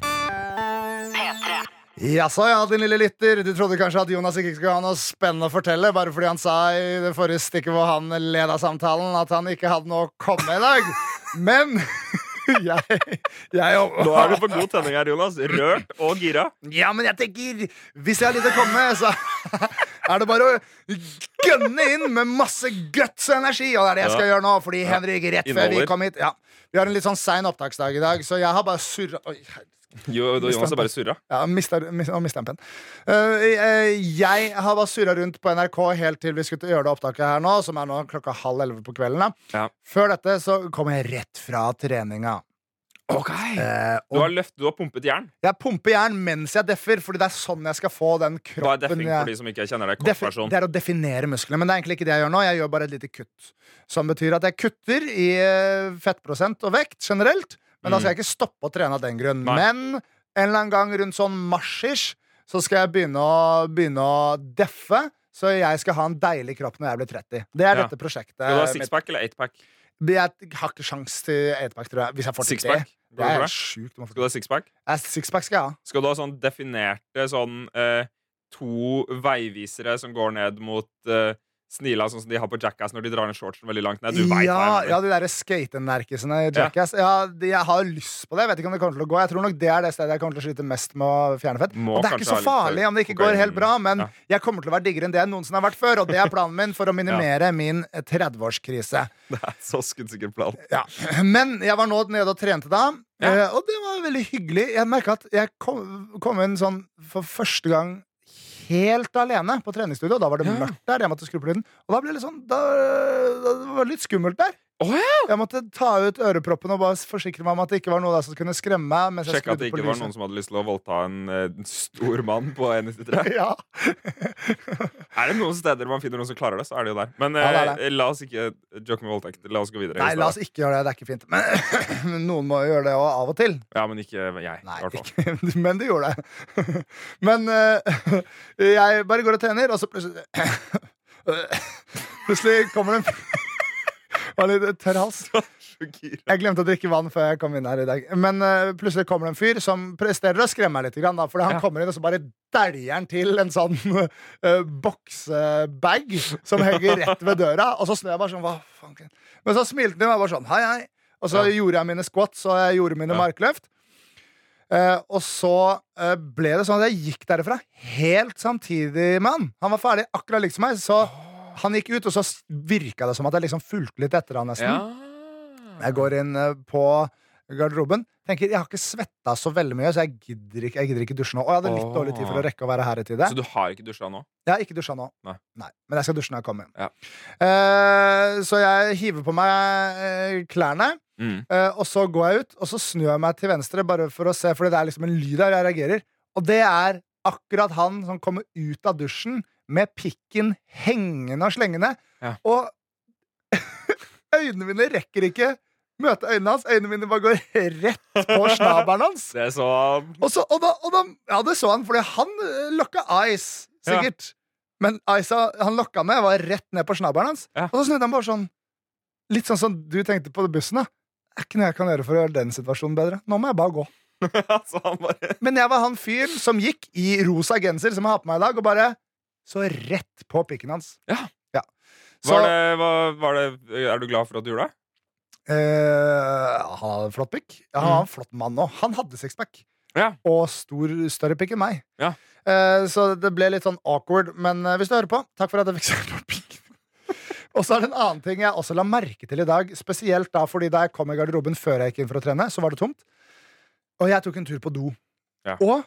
Jaså, ja, din lille lytter. Du trodde kanskje at Jonas ikke skulle ha noe spennende å fortelle, bare fordi han sa i det forrige stikket hvor han leda samtalen, at han ikke hadde noe å komme med i
<laughs>
dag. Men <laughs> jeg, jeg
Nå er du på god tenning her, Jonas. Rørt og gira.
Ja, men jeg tenker Hvis jeg har litt å komme med, så <laughs> er det bare å gønne inn med masse guts og energi. Og det er det jeg skal gjøre nå, fordi Henrik, rett før vi
Inneholder.
kom hit ja, Vi har en litt sånn sein opptaksdag i dag, så jeg har bare surra Oi, her-
Jo, Jonas er bare surra.
ja, mista, mis- nå mista jeg en penn. Eh, eh, jeg har bare surra rundt på NRK helt til vi skulle gjøre det opptaket her nå, som er nå klokka halv elleve på kvelden. da.
Ja.
Før dette så kom jeg rett fra treninga. Eh,
Du
og
har, løft, du har pumpet jern.
jeg pumper jern mens jeg deffer, Fordi det er sånn jeg skal få den
Hva er
kroppen
deffing
jeg
for de som ikke kjenner deg?
Defi-
Kortversjon.
Det er å definere musklene, men det er egentlig ikke det jeg gjør nå. Jeg gjør bare et lite kutt. Som betyr at jeg kutter i eh, fettprosent og vekt generelt, men da skal jeg ikke stoppe å trene av den grunn.
Mm. Nei.
Men en eller annen gang rundt sånn mars-ish, så skal jeg begynne å, begynne å deffe. Så jeg skal ha en deilig kropp når jeg blir 30. Det er
Ja.
dette prosjektet.
Skal du ha
eh, mitt.
sixpack eller eightpack?
Jeg har ikke sjans til 8-pack, tror jeg. Hvis jeg får til det.
Sixpack?
Det
Går
er
det for deg?
sjukt. du må få
Skal du ha sixpack?
til. Sixpack skal jeg ha.
Skal du ha sånn definerte sånn eh, to veivisere som går ned mot eh, snila, sånn som de har på Jackass når de drar ned shortsen veldig langt ned? Du vet hva jeg
ja,
mener.
ja, de derre skatenerkisene i Jackass. Ja. de, jeg har lyst på det. Jeg vet ikke om det kommer til å gå. Jeg tror nok det er det stedet jeg kommer til å slite mest med å fjerne fett.
Må
og det er ikke
kanskje
så
ha litt øh,
farlig om det ikke går helt bra, men
Ja.
jeg kommer til å være diggere enn det jeg noensinne har vært før, og det er planen min
<laughs>
for å minimere min eh, 30-årskrise.
<laughs> Det er så skuddsikker plan.
Ja. Men jeg var nå nede og trente da,
Ja.
eh, og det var veldig hyggelig. Jeg merka at jeg kom, kom inn sånn for første gang helt alene på treningsstudio. Og da var det
Ja.
mørkt der. Jeg måtte skru på lyden. Og da ble det litt sånn da, da, Det var litt skummelt der.
Å, ja.
Jeg måtte ta ut øreproppen og bare forsikre meg om at det ikke var noe der som kunne skremme meg. Mens jeg
Sjekk at
skrudde
det
på
ikke var
lyset.
noen som hadde lyst til å voldta en, eh, en stor mann på <laughs> 1,93.
Ja.
Er det noen steder man finner noen som klarer det, så er det jo der. Men
Ja, det er
eh, la oss ikke joke med voldtekt. La oss gå videre.
Nei, la oss ikke gjøre det. Det er ikke fint. Men <clears throat> noen må jo gjøre det også, av og til.
Ja, men ikke jeg. i
Nei,
hvert fall. <laughs>
ikke, <laughs> men det <laughs> gjorde jeg. Men eh, <laughs> jeg bare går og trener, og så plutselig <laughs> Plutselig kommer det en <laughs> Det var litt tørr hals.
Så gira.
Jeg glemte å drikke vann før jeg kom inn her i dag. Men eh, plutselig kommer det en fyr som presterer å skremme meg litt. Grann, da, fordi han
Ja.
kommer inn og så bare dæljer han til en sånn <laughs> eh, boksebag som henger rett ved døra. Og så snur jeg bare sånn Hva faen? Men så smilte han og jeg bare sånn Hei, hei. Og så
Ja.
gjorde jeg mine squats og jeg gjorde mine
Ja.
markløft. Eh, og så eh, ble det sånn at jeg gikk derfra helt samtidig med han. Han var ferdig akkurat likt som meg, så han gikk ut, og så virka det som at jeg liksom fulgte litt etter han nesten. Jeg går inn eh, på garderoben. Tenker, Jeg har ikke svetta så veldig mye, så jeg gidder ikke, jeg gidder ikke dusje nå. Og jeg hadde litt
Åh.
dårlig tid for å rekke å være her i tide.
Så du har ikke dusja nå?
Jeg har ikke dusja nå.
Nei.
Men jeg skal dusje når jeg kommer hjem.
Ja.
Eh, så jeg hiver på meg eh, klærne,
Mm.
eh, og så går jeg ut. Og så snur jeg meg til venstre, bare for å se, Fordi det er liksom en lyd der jeg reagerer. Og det er akkurat han som kommer ut av dusjen med pikken hengende og slengende.
Ja.
Og <laughs> øynene mine rekker ikke møte øynene hans. Øynene mine bare går rett på snabelen hans.
Det er så
Og, så, og, da, og da, ja, det så han, fordi han eh, lokka Ice, sikkert. Men Ice han lokka med, var rett ned på snabelen hans.
Ja.
Og så snudde han bare sånn. Litt sånn som du tenkte på bussen. da Det er ikke noe jeg kan gjøre for å gjøre den situasjonen bedre. Nå må jeg bare gå.
<laughs> Altså, han bare
Men jeg var han fyren som gikk i rosa genser, som jeg har på meg i dag, og bare så rett på pikken hans.
Ja.
Så
var det, var, var det, øh, Er du glad for at du gjorde det?
eh, han hadde en flott pikk. Ja, Han var en flott mann òg. Han hadde sixpack.
Mm. Ja.
Og stor, større pikk enn meg.
Ja.
Eh, så det ble litt sånn awkward. Men eh, hvis du hører på, takk for at jeg fikk sagt opp pikken. Og så er det en annen ting jeg også la merke til i dag, spesielt da fordi da jeg kom i garderoben før jeg gikk inn for å trene, så var det tomt. Og jeg tok en tur på do.
Ja.
Og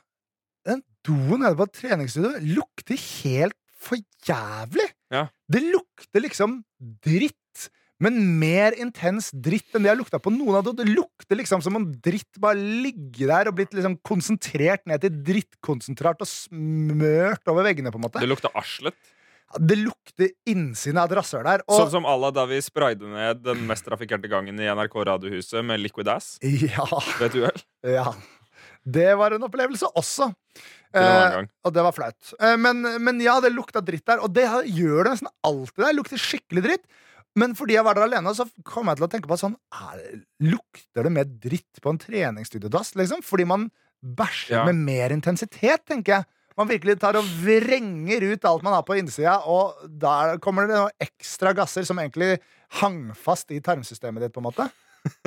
den doen nede på treningsstudioet lukter helt for jævlig.
Ja.
Det lukter liksom dritt. Men mer intens dritt enn det jeg lukta på noen av det. Det lukter liksom som om dritt bare ligger der og blitt liksom konsentrert ned til drittkonsentrat og smørt over veggene, på en måte.
Det lukta arslet.
Ja, Det lukter innsiden av et rasshøl der. Og
Sånn som à la da vi sprayde ned den mest trafikkerte gangen i NRK Radiohuset med Liquid Ass.
Ja,
Ved et uhell.
ja. Det var en opplevelse også.
Til en annen
Eh,
gang.
og det var flaut. Eh, men, men ja, det lukta dritt der. Og det her gjør det nesten alltid der. Lukter skikkelig dritt. Men fordi jeg var der alene, så kom jeg til å tenke på at sånn er, det- Lukter det mer dritt på en treningsstudiodass? Liksom? Fordi man bæsjer
Ja.
med mer intensitet, tenker jeg. Man virkelig tar og vrenger ut alt man har på innsida, og der kommer det noen ekstra gasser som egentlig hang fast i tarmsystemet ditt, på en måte.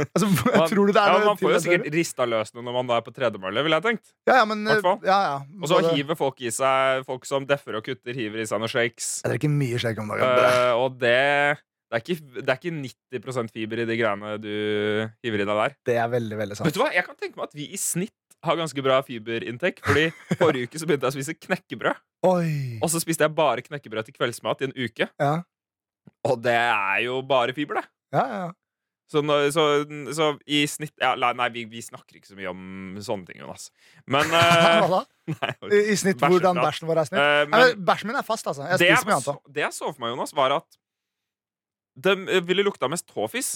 Altså, <laughs>
Man,
tror du det er
ja,
noe
man
til
får jo
at-
sikkert rista løs noe når man da er på tredemølle, ville jeg tenkt.
Ja, ja, men eh,
Hvertfall.
ja, ja.
Og så
Både-
hiver folk i seg folk som deffer og kutter, hiver i seg noen shakes.
Jeg drikker mye shake om dagen.
Eh, og det det er, ikke, det er ikke 90 fiber i de greiene du hiver i deg der.
Det er veldig, veldig sant.
Vet du hva? Jeg kan tenke meg at vi i snitt har ganske bra fiberinntekt. Fordi forrige uke så begynte jeg å spise knekkebrød.
Oi!
Og så spiste jeg bare knekkebrød til kveldsmat i en uke.
Ja,
Og det er jo bare fiber, det.
ja, ja.
Så, nå- så, så i snitt ja, Nei, nei, vi, vi snakker ikke så mye om sånne ting, Jonas.
<laughs>
Men eh,
Hva da?
nei,
I, I snitt
Bæsjeprat.
hvordan bæsjen vår er snitt?
eh,
Nei,
men,
men Bæsjen min er fast, altså. Jeg
det,
spiser
jeg,
mye annet
så-
også.
det jeg så for meg, Jonas, var at det eh, ville lukta mest tåfis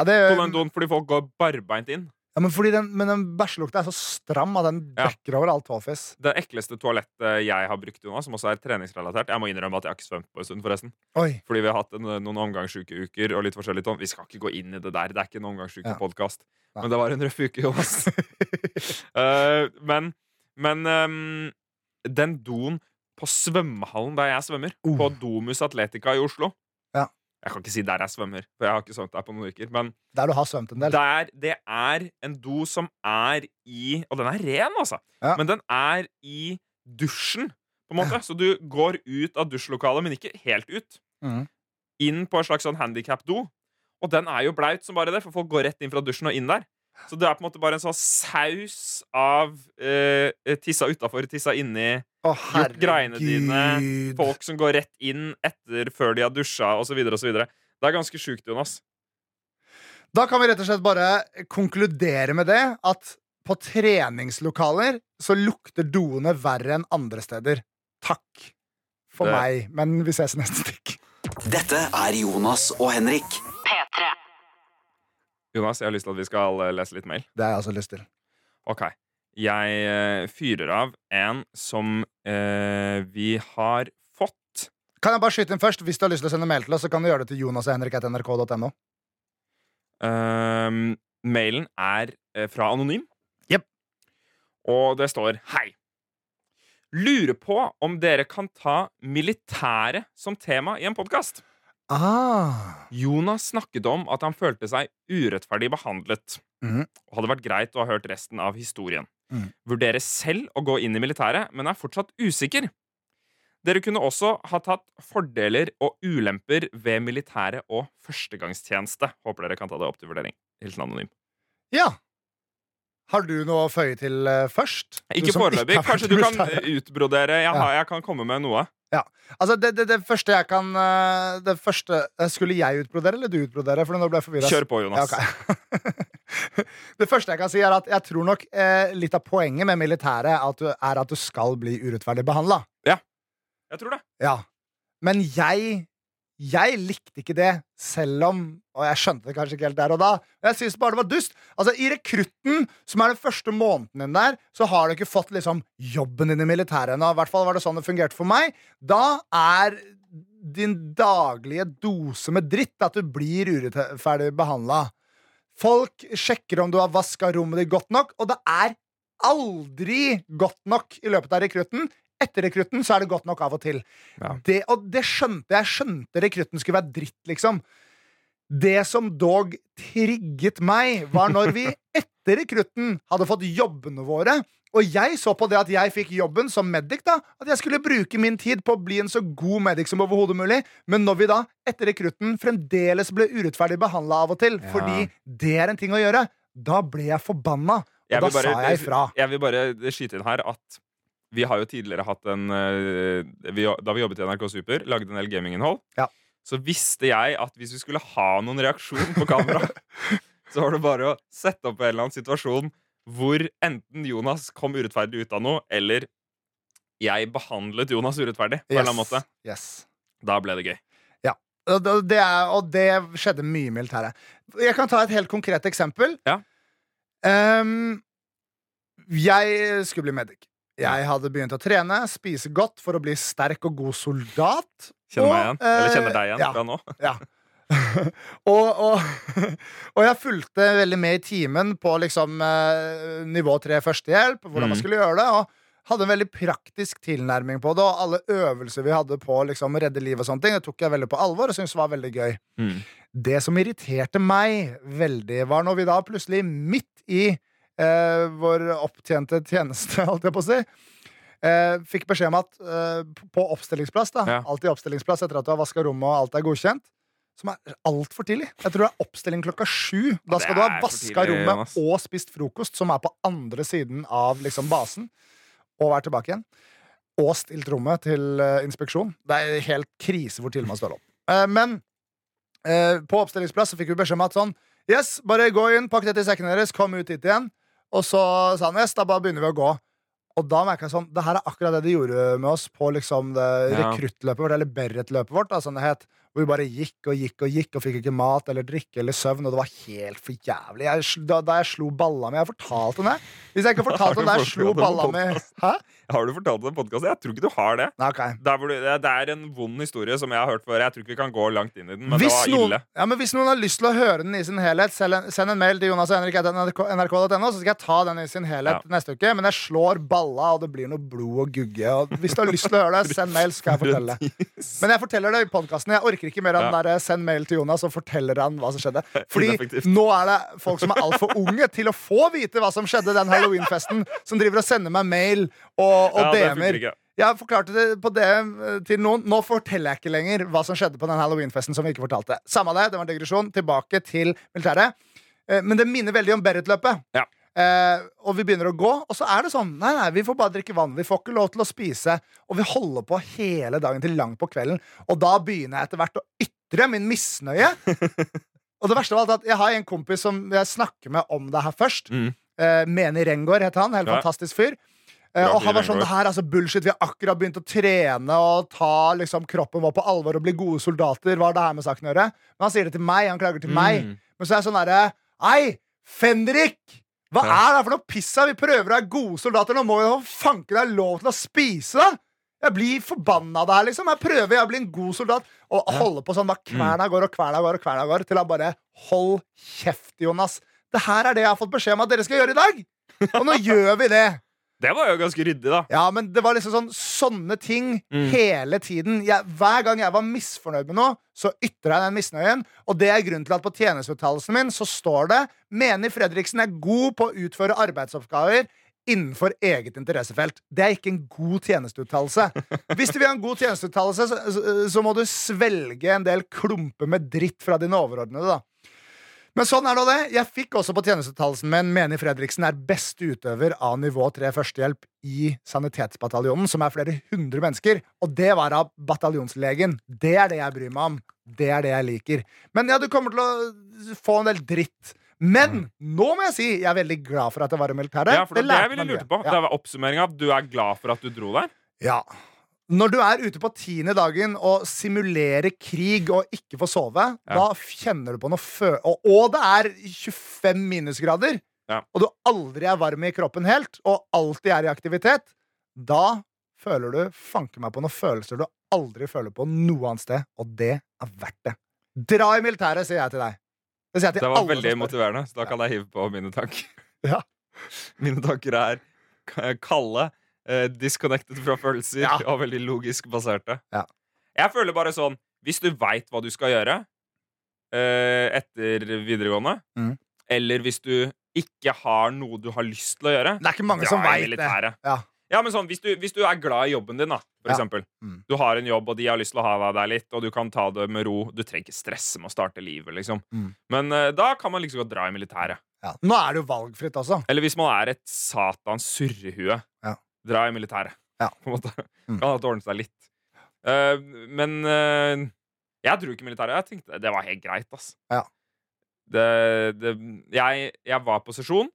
Ja, det,
på den doen fordi folk går barbeint inn.
ja, men, fordi den, men den bæsjelukta er så stram at den
Ja.
dekker over all tåfis.
Det ekleste toalettet jeg har brukt, Jonas, som også er treningsrelatert Jeg må innrømme at jeg har ikke svømt på en stund, forresten.
Oi.
Fordi vi har hatt en, noen omgangsuke uker og litt forskjellig sånn. Vi skal ikke gå inn i det der. Det er ikke en omgangsukepodkast.
Nei.
Men det var en røff uke,
<laughs>
Jonas. Eh, men men ehm, den doen på svømmehallen der jeg svømmer,
Uh.
på Domus Atletica i Oslo
Ja.
Jeg kan ikke si der jeg svømmer, for jeg har ikke svømt der på noen uker. Men
Der du har svømt en del.
der, det er en do som er i Og den er ren, altså.
Ja.
Men den er i dusjen, på en måte. Så du går ut av dusjlokalet, men ikke helt ut.
Mhm.
Inn på en slags sånn handikap-do. Og den er jo blaut som bare det, for folk går rett inn fra dusjen og inn der. Så det er på en måte bare en sånn saus av eh, tissa utafor, tissa inni,
Å,
Gjort greiene dine,
herregud.
folk som går rett inn etter før de har dusja, osv. osv. Det er ganske sjukt, Jonas.
Da kan vi rett og slett bare konkludere med det at på treningslokaler så lukter doene verre enn andre steder. Takk for
Det-
meg, men vi ses neste stikk.
Dette er Jonas og Henrik.
P3.
Jonas, jeg har lyst til at vi skal eh, lese litt mail.
Det har jeg altså lyst til.
Ok. Jeg eh, fyrer av en som eh, vi har fått.
Kan jeg bare skyte inn først? Hvis du har lyst til å sende mail til oss, så kan du gjøre det til Jonas og Henrik nrk.no.
Ehm, mailen er eh, fra Anonym.
Jep.
Og det står Hei. Lurer på om dere kan ta militæret som tema i en podkast.
Ah.
Jonas snakket om at han følte seg urettferdig behandlet.
Mhm.
Og hadde vært greit å ha hørt resten av historien.
Mhm.
Vurderer selv å gå inn i militæret, men er fortsatt usikker. Dere kunne også ha tatt fordeler og ulemper ved militæret og førstegangstjeneste. Håper dere kan ta det opp til vurdering. Hilsen anonym.
Ja. Har du noe å føye til eh, først? Du
Ikke
som
foreløpig.
har vært
Kanskje du kan
militær.
utbrodere. Jeg, har, jeg kan komme med noe.
Altså, det, det, det første jeg kan eh, Det første eh, Skulle jeg utbrodere, eller du utbrodere? For nå ble jeg forvirra.
Kjør på, Jonas.
<laughs> det første jeg kan si, er at jeg tror nok eh, litt av poenget med militæret er at du, er at du skal bli urettferdig behandla.
Jeg tror det.
Ja. Men jeg jeg likte ikke det, selv om Og jeg skjønte det kanskje ikke helt der og da. Men jeg synes bare det var dust. Altså, I rekrutten, som er den første måneden din der, så har du ikke fått liksom jobben din i militæret ennå. I hvert fall var det sånn det fungerte for meg. Da er din daglige dose med dritt at du blir urettferdig behandla. Folk sjekker om du har vaska rommet ditt godt nok, og det er aldri godt nok i løpet av rekrutten. Etter rekrutten så er det godt nok av og til.
Ja.
Det, og det skjønte jeg. skjønte rekrutten skulle være dritt, liksom. Det som dog trigget meg, var når
<laughs>
vi etter rekrutten hadde fått jobbene våre. Og jeg så på det at jeg fikk jobben som medic, da, at jeg skulle bruke min tid på å bli en så god medic som overhodet mulig. Men når vi da, etter rekrutten, fremdeles ble urettferdig behandla av og til,
Ja.
fordi det er en ting å gjøre, da ble jeg forbanna. Og
Jeg
da
vil bare-
sa jeg ifra.
Jeg vil bare skyte inn her at vi har jo tidligere hatt en eh, vi, Da vi jobbet i NRK Super, lagde en del gaminginnhold,
Ja.
så visste jeg at hvis vi skulle ha noen reaksjon på
<laughs>
kamera, så var det bare å sette opp en eller annen situasjon hvor enten Jonas kom urettferdig ut av noe, eller jeg behandlet Jonas urettferdig på en eller annen måte.
Yes.
Da ble det gøy.
Og det, det er, og det skjedde mye i militæret. Jeg kan ta et helt konkret eksempel.
Ja.
Ehm, jeg skulle bli medic. Jeg hadde begynt å trene, spise godt for å bli sterk og god soldat.
Kjenner meg
Og,
igjen. Eller
eh,
kjenner deg igjen
ja.
fra nå.
<laughs> og, og, <laughs> og jeg fulgte veldig med i timen på liksom, eh, nivå tre førstehjelp, hvordan
Mm.
man skulle gjøre det. Og hadde en veldig praktisk tilnærming på det, og alle øvelser vi hadde på liksom, redde liv og sånne ting, det tok jeg veldig på alvor og syntes var veldig gøy.
Mm.
Det som irriterte meg veldig, var når vi da plutselig midt i eh, vår opptjente tjeneste, <laughs> holdt jeg på å si, eh, fikk beskjed om at eh, p- på oppstillingsplass, da,
Ja.
alltid oppstillingsplass etter at du har vaska rommet og alt er godkjent, som er altfor tidlig. Jeg tror det er oppstilling klokka sju. Da
det
skal du ha
er for
vaska
tidlig,
rommet
Jonas.
og spist frokost, som er på andre siden av liksom, basen, og være tilbake igjen. Og stilt rommet til eh, inspeksjon. Det er helt krise hvor tidlig man står opp. Eh, men eh, på oppstillingsplass så fikk vi beskjed om at sånn Yes, bare gå inn, pakk dette i sekkene deres, kom ut hit igjen. Og så sa han yes, da bare begynner vi å gå. Og da merka jeg sånn Det her er akkurat det de gjorde med oss på liksom det
Ja.
rekruttløpet vårt, eller Berret-løpet vårt, da, som det het. Hvor vi bare gikk og gikk og gikk og fikk ikke mat eller drikke eller søvn, og det var helt for jævlig. Jeg, sl- da, da jeg slo balla mi Jeg fortalte om det. Hvis jeg ikke fortalte om det, jeg slo balla mi Hæ?
Har du fortalt det i podkasten? Jeg tror ikke du har det.
Nei, ok.
Der hvor du, det det er en vond historie som jeg har hørt før. Jeg tror ikke vi kan gå langt inn i den, men
hvis,
det var
noen,
ille.
ja, men hvis noen har lyst til å høre den i sin helhet, sel- send en mail til Jonas og Henrik etter nrk.no, så skal jeg ta den i sin helhet neste uke. Men jeg slår balla, og det blir noe blod og gugge. Og hvis du har lyst til å høre det, send mail, skal jeg fortelle. Men jeg forteller det i podkasten. Jeg orker ikke mer av den
Ja.
derre 'send mail til Jonas', og forteller han hva som skjedde.
<laughs>
Fordi
Ineffektivt.
nå er det folk som er altfor unge til å få vite hva som skjedde den halloweenfesten, som driver og sender meg mail og, og
Ja, det funker
DM-er.
ikke.
Jeg forklarte det på DM til noen. Nå forteller jeg ikke lenger hva som skjedde på den halloweenfesten som vi ikke fortalte. Samme det, det var en digresjon. Tilbake til militæret. Eh, Men det minner veldig om Berit-løpet.
Ja.
Eh, og vi begynner å gå, og så er det sånn Nei, nei, vi får bare drikke vann. Vi får ikke lov til å spise. Og vi holder på hele dagen til langt på kvelden. Og da begynner jeg etter hvert å ytre min
<laughs>
misnøye. og det verste av alt er at jeg har en kompis som jeg snakker med om det her først.
Mm.
Eh, Meni Rengård heter han. Helt
Ja.
fantastisk fyr. Eh,
Bra
og
fyr,
han var sånn,
Rengård.
det her er altså bullshit, Vi har akkurat begynt å trene og ta liksom, kroppen vår på alvor og bli gode soldater. Hva har det her med saken å gjøre? Men han sier det til meg. Han klager til meg.
Mm.
Men så er jeg sånn derre Ei, Fenrik!
Ja.
Hva er det her for noe piss? her? Vi prøver å være gode soldater. Nå må vi jo fanken ha lov til å spise, da! Jeg blir forbanna av det her, liksom. Jeg prøver å bli en god soldat. Og holde på sånn da
Mm.
kverna går og kverna går og kverna går, til han bare Hold kjeft, Jonas. Det her er det jeg har fått beskjed om at dere skal gjøre i dag.
<laughs>
Og nå gjør vi det.
Det var jo ganske ryddig, da.
Ja, men det var liksom sånn sånne ting
Mm.
hele tiden. Jeg, hver gang jeg var misfornøyd med noe, så ytra jeg den misnøyen. Og det er grunnen til at på tjenesteuttalelsen min så står det Mener Fredriksen er god på å utføre arbeidsoppgaver innenfor eget interessefelt. Det er ikke en god tjenesteuttalelse. Hvis du vil ha en god tjenesteuttalelse, så, så, så må du svelge en del klumper med dritt fra dine overordnede, da. Men sånn er nå det. Jeg fikk også på tjenesteuttalelsen min Meni Fredriksen er beste utøver av nivå 3 førstehjelp i Sanitetsbataljonen, som er flere hundre mennesker. Og det var av bataljonslegen. Det er det jeg bryr meg om. Det er det jeg liker. Men ja, du kommer til å få en del dritt. Men nå må jeg si jeg er veldig glad for at jeg var i militæret.
Mm. Ja, for det, var det jeg
lærte
ville
meg
lurte
mye.
på,
Ja.
det var oppsummeringa. Du er glad for at du dro der?
Ja. Når du er ute på tiende dagen og simulerer krig og ikke får sove, da kjenner du på noe fø... Og, og det er 25 minusgrader,
Ja.
og du aldri er varm i kroppen helt, og alltid er i aktivitet, da føler du fanke meg på noen følelser du aldri føler på noe annet sted, og det er verdt det. Dra i militæret, sier jeg til deg. Det sier jeg til
Det var
alle
veldig
som spør.
motiverende, så da kan jeg hive på mine tanker.
<laughs> Ja.
Mine tanker er k- kalde, eh, disconnected fra følelser
Ja.
og veldig logisk baserte.
Ja.
Jeg føler bare sånn Hvis du veit hva du skal gjøre eh, etter videregående,
Mhm.
eller hvis du ikke har noe du har lyst til å gjøre
Det er ikke mange
dra
som
i
veit det.
militæret.
Ja.
Ja, men sånn, hvis du, hvis du er glad i jobben din, da, for
Ja.
eksempel.
Mm.
Du har en jobb, og de har lyst til å ha deg der litt, og du kan ta det med ro. Du trenger ikke stresse med å starte livet, liksom.
Mm.
Men eh, da kan man liksom godt dra i militæret.
Ja. Nå er det jo valgfritt også.
Eller hvis man er et satans surrehue.
Ja.
Dra i militæret. <laughs>
Ja.
På en måte.
Mm.
Kan at det ordner seg litt. Eh, men eh, jeg dro ikke i militæret. Jeg tenkte det var helt greit, ass.
Ja.
Det, det, jeg, jeg var på sesjon,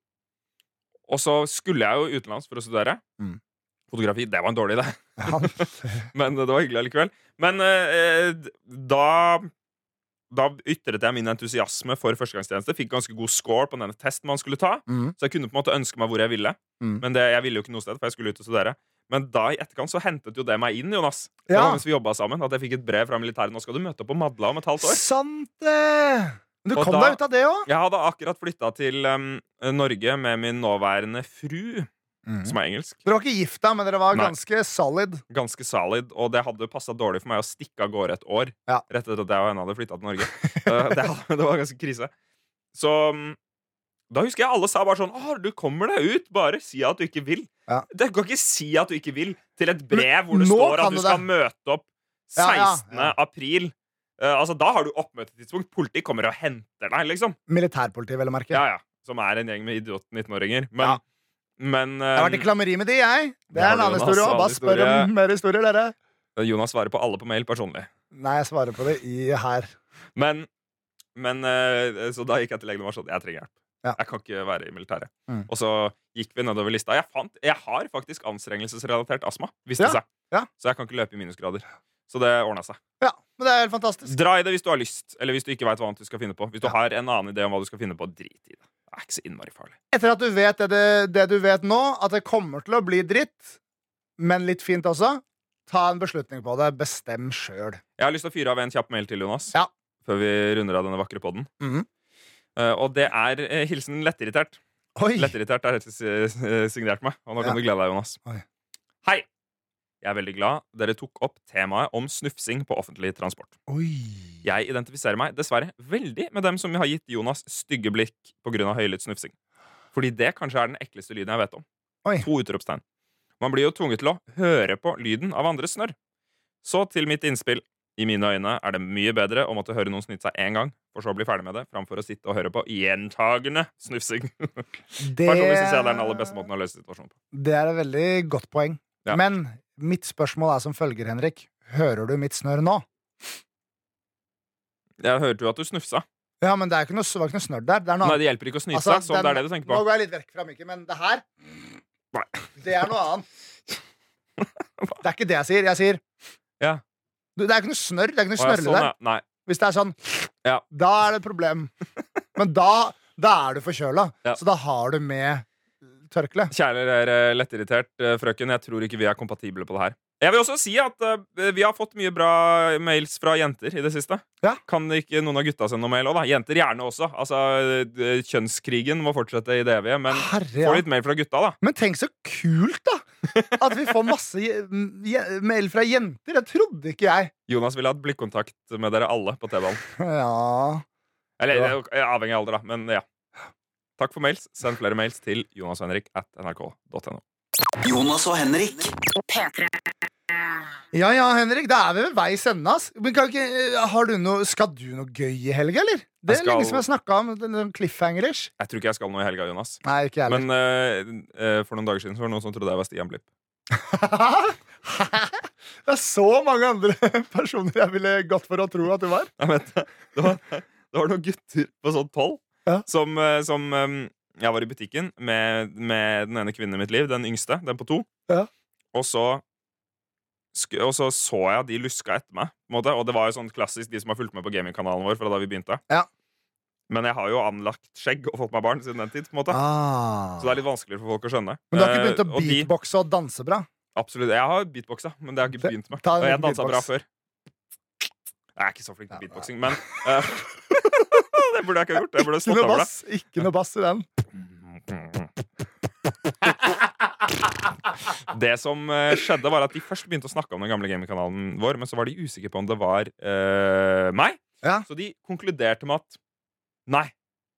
og så skulle jeg jo utenlands for å studere.
Mm.
Fotografi, det var en dårlig idé. <laughs>
Ja.
Men det var hyggelig allikevel. Men eh, d- da da ytret jeg min entusiasme for førstegangstjeneste. Fikk ganske god score på denne testen man skulle ta.
Mm.
Så jeg kunne på en måte ønske meg hvor jeg ville.
Mm.
Men det, jeg ville jo ikke noe sted, for jeg skulle ut og studere. Men da i etterkant så hentet jo det meg inn, Jonas. Det
Ja.
var mens vi jobbet sammen, At jeg fikk et brev fra militæret. Nå skal du møte opp på Madla om et halvt år.
Sant det! Men du
Og
kom
da-
deg ut av det òg.
Jeg hadde akkurat flytta til em, Norge med min nåværende fru, som er engelsk.
Dere var ikke gifta, men dere var
Nei.
ganske solid.
ganske solid, og det hadde passa dårlig for meg å stikke av gårde et år.
Ja.
Rett etter at jeg og henne hadde flytta til
<laughs>
Norge. Eh, det, hadde- <laughs> det var ganske krise. Så mm, da husker jeg alle sa bare sånn Å, du kommer deg ut, bare si at du ikke vil.
Ja.
Du kan ikke si at du ikke vil til et brev hvor det
nå
står
kan
at du
du
skal
det.
møte opp 16.
Ja, ja, ja.
april. Eh, altså, da har du oppmøtetidspunkt. Politiet kommer og henter deg, liksom.
Militærpoliti, vel å merke.
Ja, ja. Som er en gjeng med idiote 19-åringer. Men,
Ja.
men
Jeg har vært i
eh,
klammeri med de, jeg. Det
Det har
er en
du,
annen
Jonas.
historie òg.
Annen
Bare spør
historie.
om mer historier, dere.
eh, Jonas svarer på alle på mail personlig.
Nei, jeg svarer på det i her.
Men, men eh, Så da gikk jeg til legen og var sånn Jeg trenger hjelp.
Ja.
Jeg kan ikke være i militæret.
Mm.
Og så gikk vi nedover lista. Jeg, fant, jeg har faktisk anstrengelsesrelatert astma, viste
Ja,
det seg.
ja.
Så jeg kan ikke løpe i minusgrader. Så det ordna seg.
Ja, men det er helt fantastisk.
Dra i det hvis du har lyst, eller hvis du ikke veit hva annet du skal finne på. Hvis du
Ja.
har en annen idé om hva du skal finne på, drit i det. Det er ikke så innmari farlig.
Etter at du vet det, du- det du vet nå, at det kommer til å bli dritt, men litt fint også, ta en beslutning på det. Bestem sjøl.
Jeg har lyst til å fyre av en kjapp mail til, Jonas.
Ja.
Før vi runder av denne vakre podden.
Mhm.
Eh, og det er eh, hilsen lettirritert.
Oi!
Lettirritert er helt eh, signert meg. Og nå kan du
Ja.
glede deg, Jonas.
Oi.
Hei! Jeg er veldig glad dere tok opp temaet om snufsing på offentlig transport.
Oi.
Jeg identifiserer meg dessverre veldig med dem som har gitt Jonas stygge blikk pga. høylytt snufsing. Fordi det kanskje er den ekleste lyden jeg vet om.
Oi.
To utropstegn. Man blir jo tvunget til å høre på lyden av andres snørr. Så til mitt innspill. I mine øyne er det mye bedre å måtte høre noen snyte seg én gang, for så å bli ferdig med det, framfor å sitte og høre på gjentagende snufsing. <laughs>
Det,
Personlig syns sånn, jeg det er den aller beste måten å løse situasjonen på.
det er et veldig godt poeng.
Ja.
Men mitt spørsmål er som følger, Henrik. Hører du mitt snørr nå?
Jeg hørte jo at du snufsa.
Ja, men det, er ikke noe, det var ikke noe snørr der. Det er noe
Nei,
annet.
det hjelper ikke å snyte
Altså,
seg, så om
den-
det er det du tenker
Nå
på.
går jeg litt vekk fra mikken, men det her
Nei.
Det er noe
<laughs>
annet. Det er ikke det jeg sier. Jeg sier
Ja.
du, Det er ikke noe snørr. Det er ikke
Å,
noe
ja,
snørre
sånn,
der.
ja. Nei.
Hvis det er sånn,
Ja.
da er det et
<laughs>
problem. Men da, da er du forkjøla,
Ja.
så da har du med tørkle.
Kjære dere lettirritert eh, frøken, jeg tror ikke vi er kompatible på det her. Jeg vil også si at eh, vi har fått mye bra mails fra jenter i det siste.
Ja.
Kan ikke noen av gutta sende noe mail òg, da? Jenter gjerne også. Altså, eh, Kjønnskrigen må fortsette i det evige, men
Herre,
få
ja.
litt mail fra gutta, da.
Men tenk så kult, da! At vi får masse je- je- mail fra jenter. Det trodde ikke jeg.
Jonas ville hatt blikkontakt med dere alle på T-banen.
Ja
Eller
Ja.
det er jo- avhengig av alder, da. Men ja. Takk for mails. Send flere mails til jonashenrik at nrk.no.
Jonas og Henrik.
ja, ja, Henrik, da er vi ved veis ende. ass. Men kan ikke, eh, har du noe, skal du noe gøy i helga, eller? Det er
Jeg skal-
lenge som jeg har snakka om den- den cliffhangerish.
Jeg tror ikke jeg skal noe i helga, Jonas.
Nei, ikke jeg heller.
Men eh, eh, for noen dager siden så var det noen som trodde jeg var Stian Blipp.
<laughs> det er så mange andre <laughs> personer jeg ville gått for å tro at du var.
Jeg vet det. <laughs> Det var, det var noen gutter på sånn tolv
Ja.
som, eh, som eh, Jeg var i butikken med, med den ene kvinnen i mitt liv, den yngste, den på to.
Ja.
Og så sk- og så så jeg at de luska etter meg. På en måte. Og det var jo sånn klassisk de som har fulgt med på gamingkanalen vår. Fra da vi begynte
Ja.
Men jeg har jo anlagt skjegg og fått meg barn siden den tid. På en måte.
Ah.
Så det er litt vanskeligere for folk å skjønne.
Men du har ikke begynt
Eh,
å
og de-
beatboxe og danse bra?
Absolutt. Jeg har beatboxa, men det har jeg ikke
Det-
begynt med.
ta en
Og jeg
liten
dansa bra
beatbox.
før. Jeg er ikke så flink til
Nei, nei.
beatboxing, men eh,
<laughs>
<laughs> Det burde jeg ikke ha gjort. Jeg burde
Ikke
slått
noe
over det.
bass, ikke noe bass i den.
Det som eh, skjedde, var at de først begynte å snakke om den gamle gamingkanalen vår, men så var de usikre på om det var eh, meg.
Ja.
Så de konkluderte med at Nei,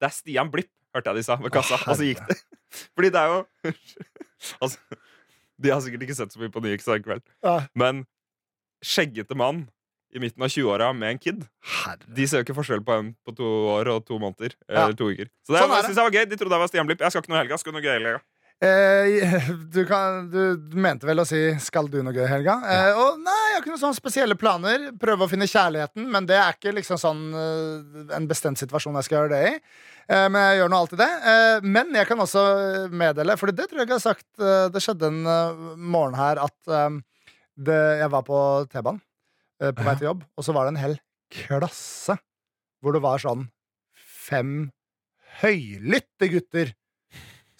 det er Stian Blipp, hørte jeg de sa ved kassa.
Å,
og så gikk det. Fordi det er jo <laughs> Altså, de har sikkert ikke sett så mye på Nyx i kveld.
Ja.
Men skjeggete mann i midten av 20-åra med en kid
Herre.
De ser jo ikke forskjell på en på to år og to måneder. eh,
Ja.
Eller to uker. Så det,
Sånn er
jeg
det.
synes jeg var gøy. De trodde jeg var Stian Blipp. Jeg skal ikke noe i helga. Skal du noe gøy i helga?
Eh, <laughs> du, kan, du mente vel å si 'skal du noe gøy i helga'? Eh, og nei, jeg har ikke noen sånne spesielle planer. Prøve å finne kjærligheten, men det er ikke liksom sånn eh, en bestemt situasjon jeg skal gjøre det i. Eh, men jeg gjør nå alltid det. Eh, men jeg kan også meddele, for det tror jeg ikke jeg har sagt eh, Det skjedde en eh, morgen her at eh, det, jeg var på T-banen eh, på vei til jobb, og så var det en hel klasse hvor det var sånn fem høylytte gutter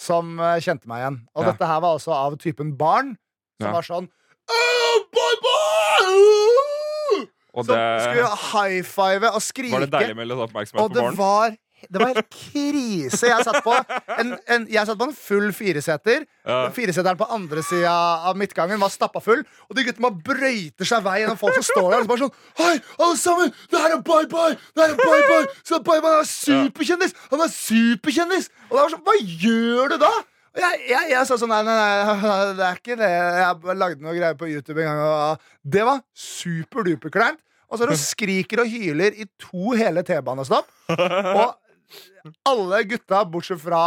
som eh, kjente meg igjen. Og
Ja.
dette her var også av typen barn, som
Ja.
var sånn «Åh, boy, boy!»
Og
Som
det,
skulle high-five og skrike.
var det deilig med litt oppmerksomhet
Og
på
det
morgenen?
var, det var helt krise. Jeg satt på en, en, jeg satt på en full fireseter.
Ja.
Fireseteren på andre sida av midtgangen var stappa full. Og de guttene bare brøyter seg vei gjennom folk som står der. Og så bare sånn Hei, alle sammen! Det her er Bye Bye! Det her er Bye Bye! Så Bye Bye er superkjendis! Han er superkjendis! Og det var sånn Hva gjør du da? Og Jeg, jeg, jeg sa sånn nei, nei, nei, det er ikke det. Jeg lagde noe greier på YouTube en gang. Og det var superduper kleint. Og så er det skriker og hyler i to hele T-banestopp. Og alle gutta, bortsett fra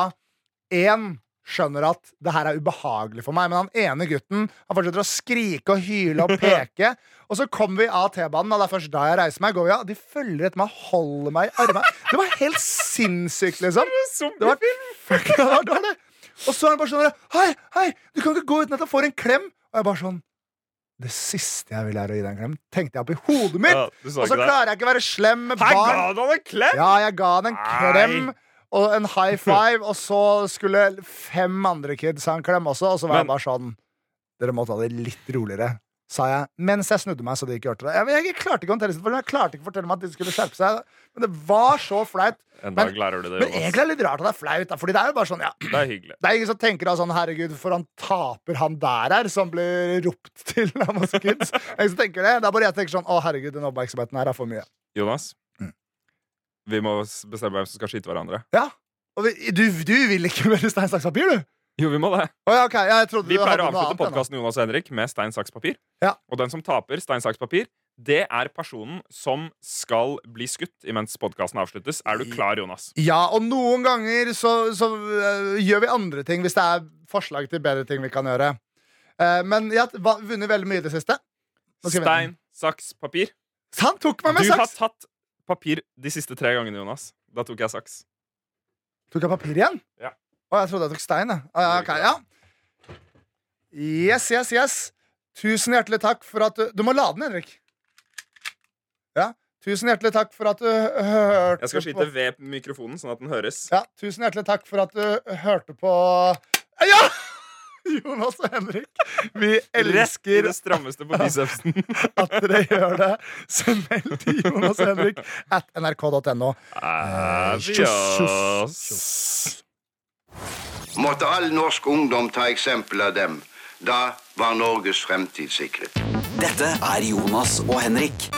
én, skjønner at det her er ubehagelig for meg. Men han ene gutten han fortsetter å skrike og
<laughs>
hyle og peke. Og så kommer vi av T-banen, og det er først da jeg reiser meg. Går vi av, De følger etter meg, holder meg i armene. Det var helt sinnssykt, liksom. Det var, fuck, <laughs> det var dårlig. Og så er han bare sånn der, Hei, hei, du kan ikke gå uten at jeg får en klem. Og jeg bare sånn Det siste jeg vil, er å gi deg en klem. Tenkte jeg oppi hodet mitt.
Ja, du sa
og så
ikke det.
klarer jeg ikke å være slem med
Her
barn.
ga du han en klem!
Ja, jeg ga han en
Nei.
klem og en high five, og så skulle fem andre kids ha en klem også, og så var jeg
Men-
bare sånn Dere må ta det litt roligere, sa jeg, mens jeg snudde meg så de ikke hørte det. Jeg, jeg klarte ikke å håndtere situasjonen, jeg klarte ikke å fortelle meg at de skulle skjerpe seg, men det var så flaut.
En
Men-
dag lærer du det,
Men
Jonas.
egentlig er det litt rart at det er flaut, da, fordi det er jo bare sånn, ja.
Det er hyggelig.
Det er ingen som tenker av sånn, herregud, for han taper han der her, som blir ropt til <laughs> av masse kids. Det er Ingen som tenker det. Det er bare jeg tenker sånn, å herregud, den oppmerksomheten her er for mye.
Jonas,
Mm.
vi må s- bestemme hvem som skal skyte hverandre.
Ja. Og vi, du, du vil ikke mer stein, saks, papir, du?
Jo, vi må det.
Å ja, ok, ja, jeg trodde
Vi
du
pleier å
hadde noe
avslutte
annet. ennå.
podkasten Jonas og Henrik med stein, saks, papir.
Ja.
Og den som taper stein, saks, papir, det er personen som skal bli skutt imens podkasten avsluttes. Er du klar, Jonas?
Ja, og noen ganger så, så øh, gjør vi andre ting hvis det er forslag til bedre ting vi kan gjøre. Eh, men jeg har t- va- vunnet veldig mye i det siste. Nå skal vi-
Stein, saks, papir.
Så Han tok meg med
Du har
saks!
tatt papir de siste tre gangene, Jonas. Da tok jeg saks.
Tok jeg papir igjen?
Ja.
Å, jeg trodde jeg tok stein. jeg. Å, ja, ok, ja. Yes, yes, yes. Tusen hjertelig takk for at du Du må lade den, Henrik. Ja. Tusen hjertelig takk for at du hørte
Jeg skal
på-
skyte ved mikrofonen, sånn at den høres.
Ja, tusen hjertelig takk for at du hørte på Ja! <laughs> Jonas og Henrik, vi
Rett i
elsker
det strammeste
<laughs>
på bicepsen.
at dere gjør det. Send mail til Jonas og Henrik at nrk.no.
Adios.
måtte all norsk ungdom ta eksempel av dem. Da var Norges fremtid sikret.
Dette er Jonas og Henrik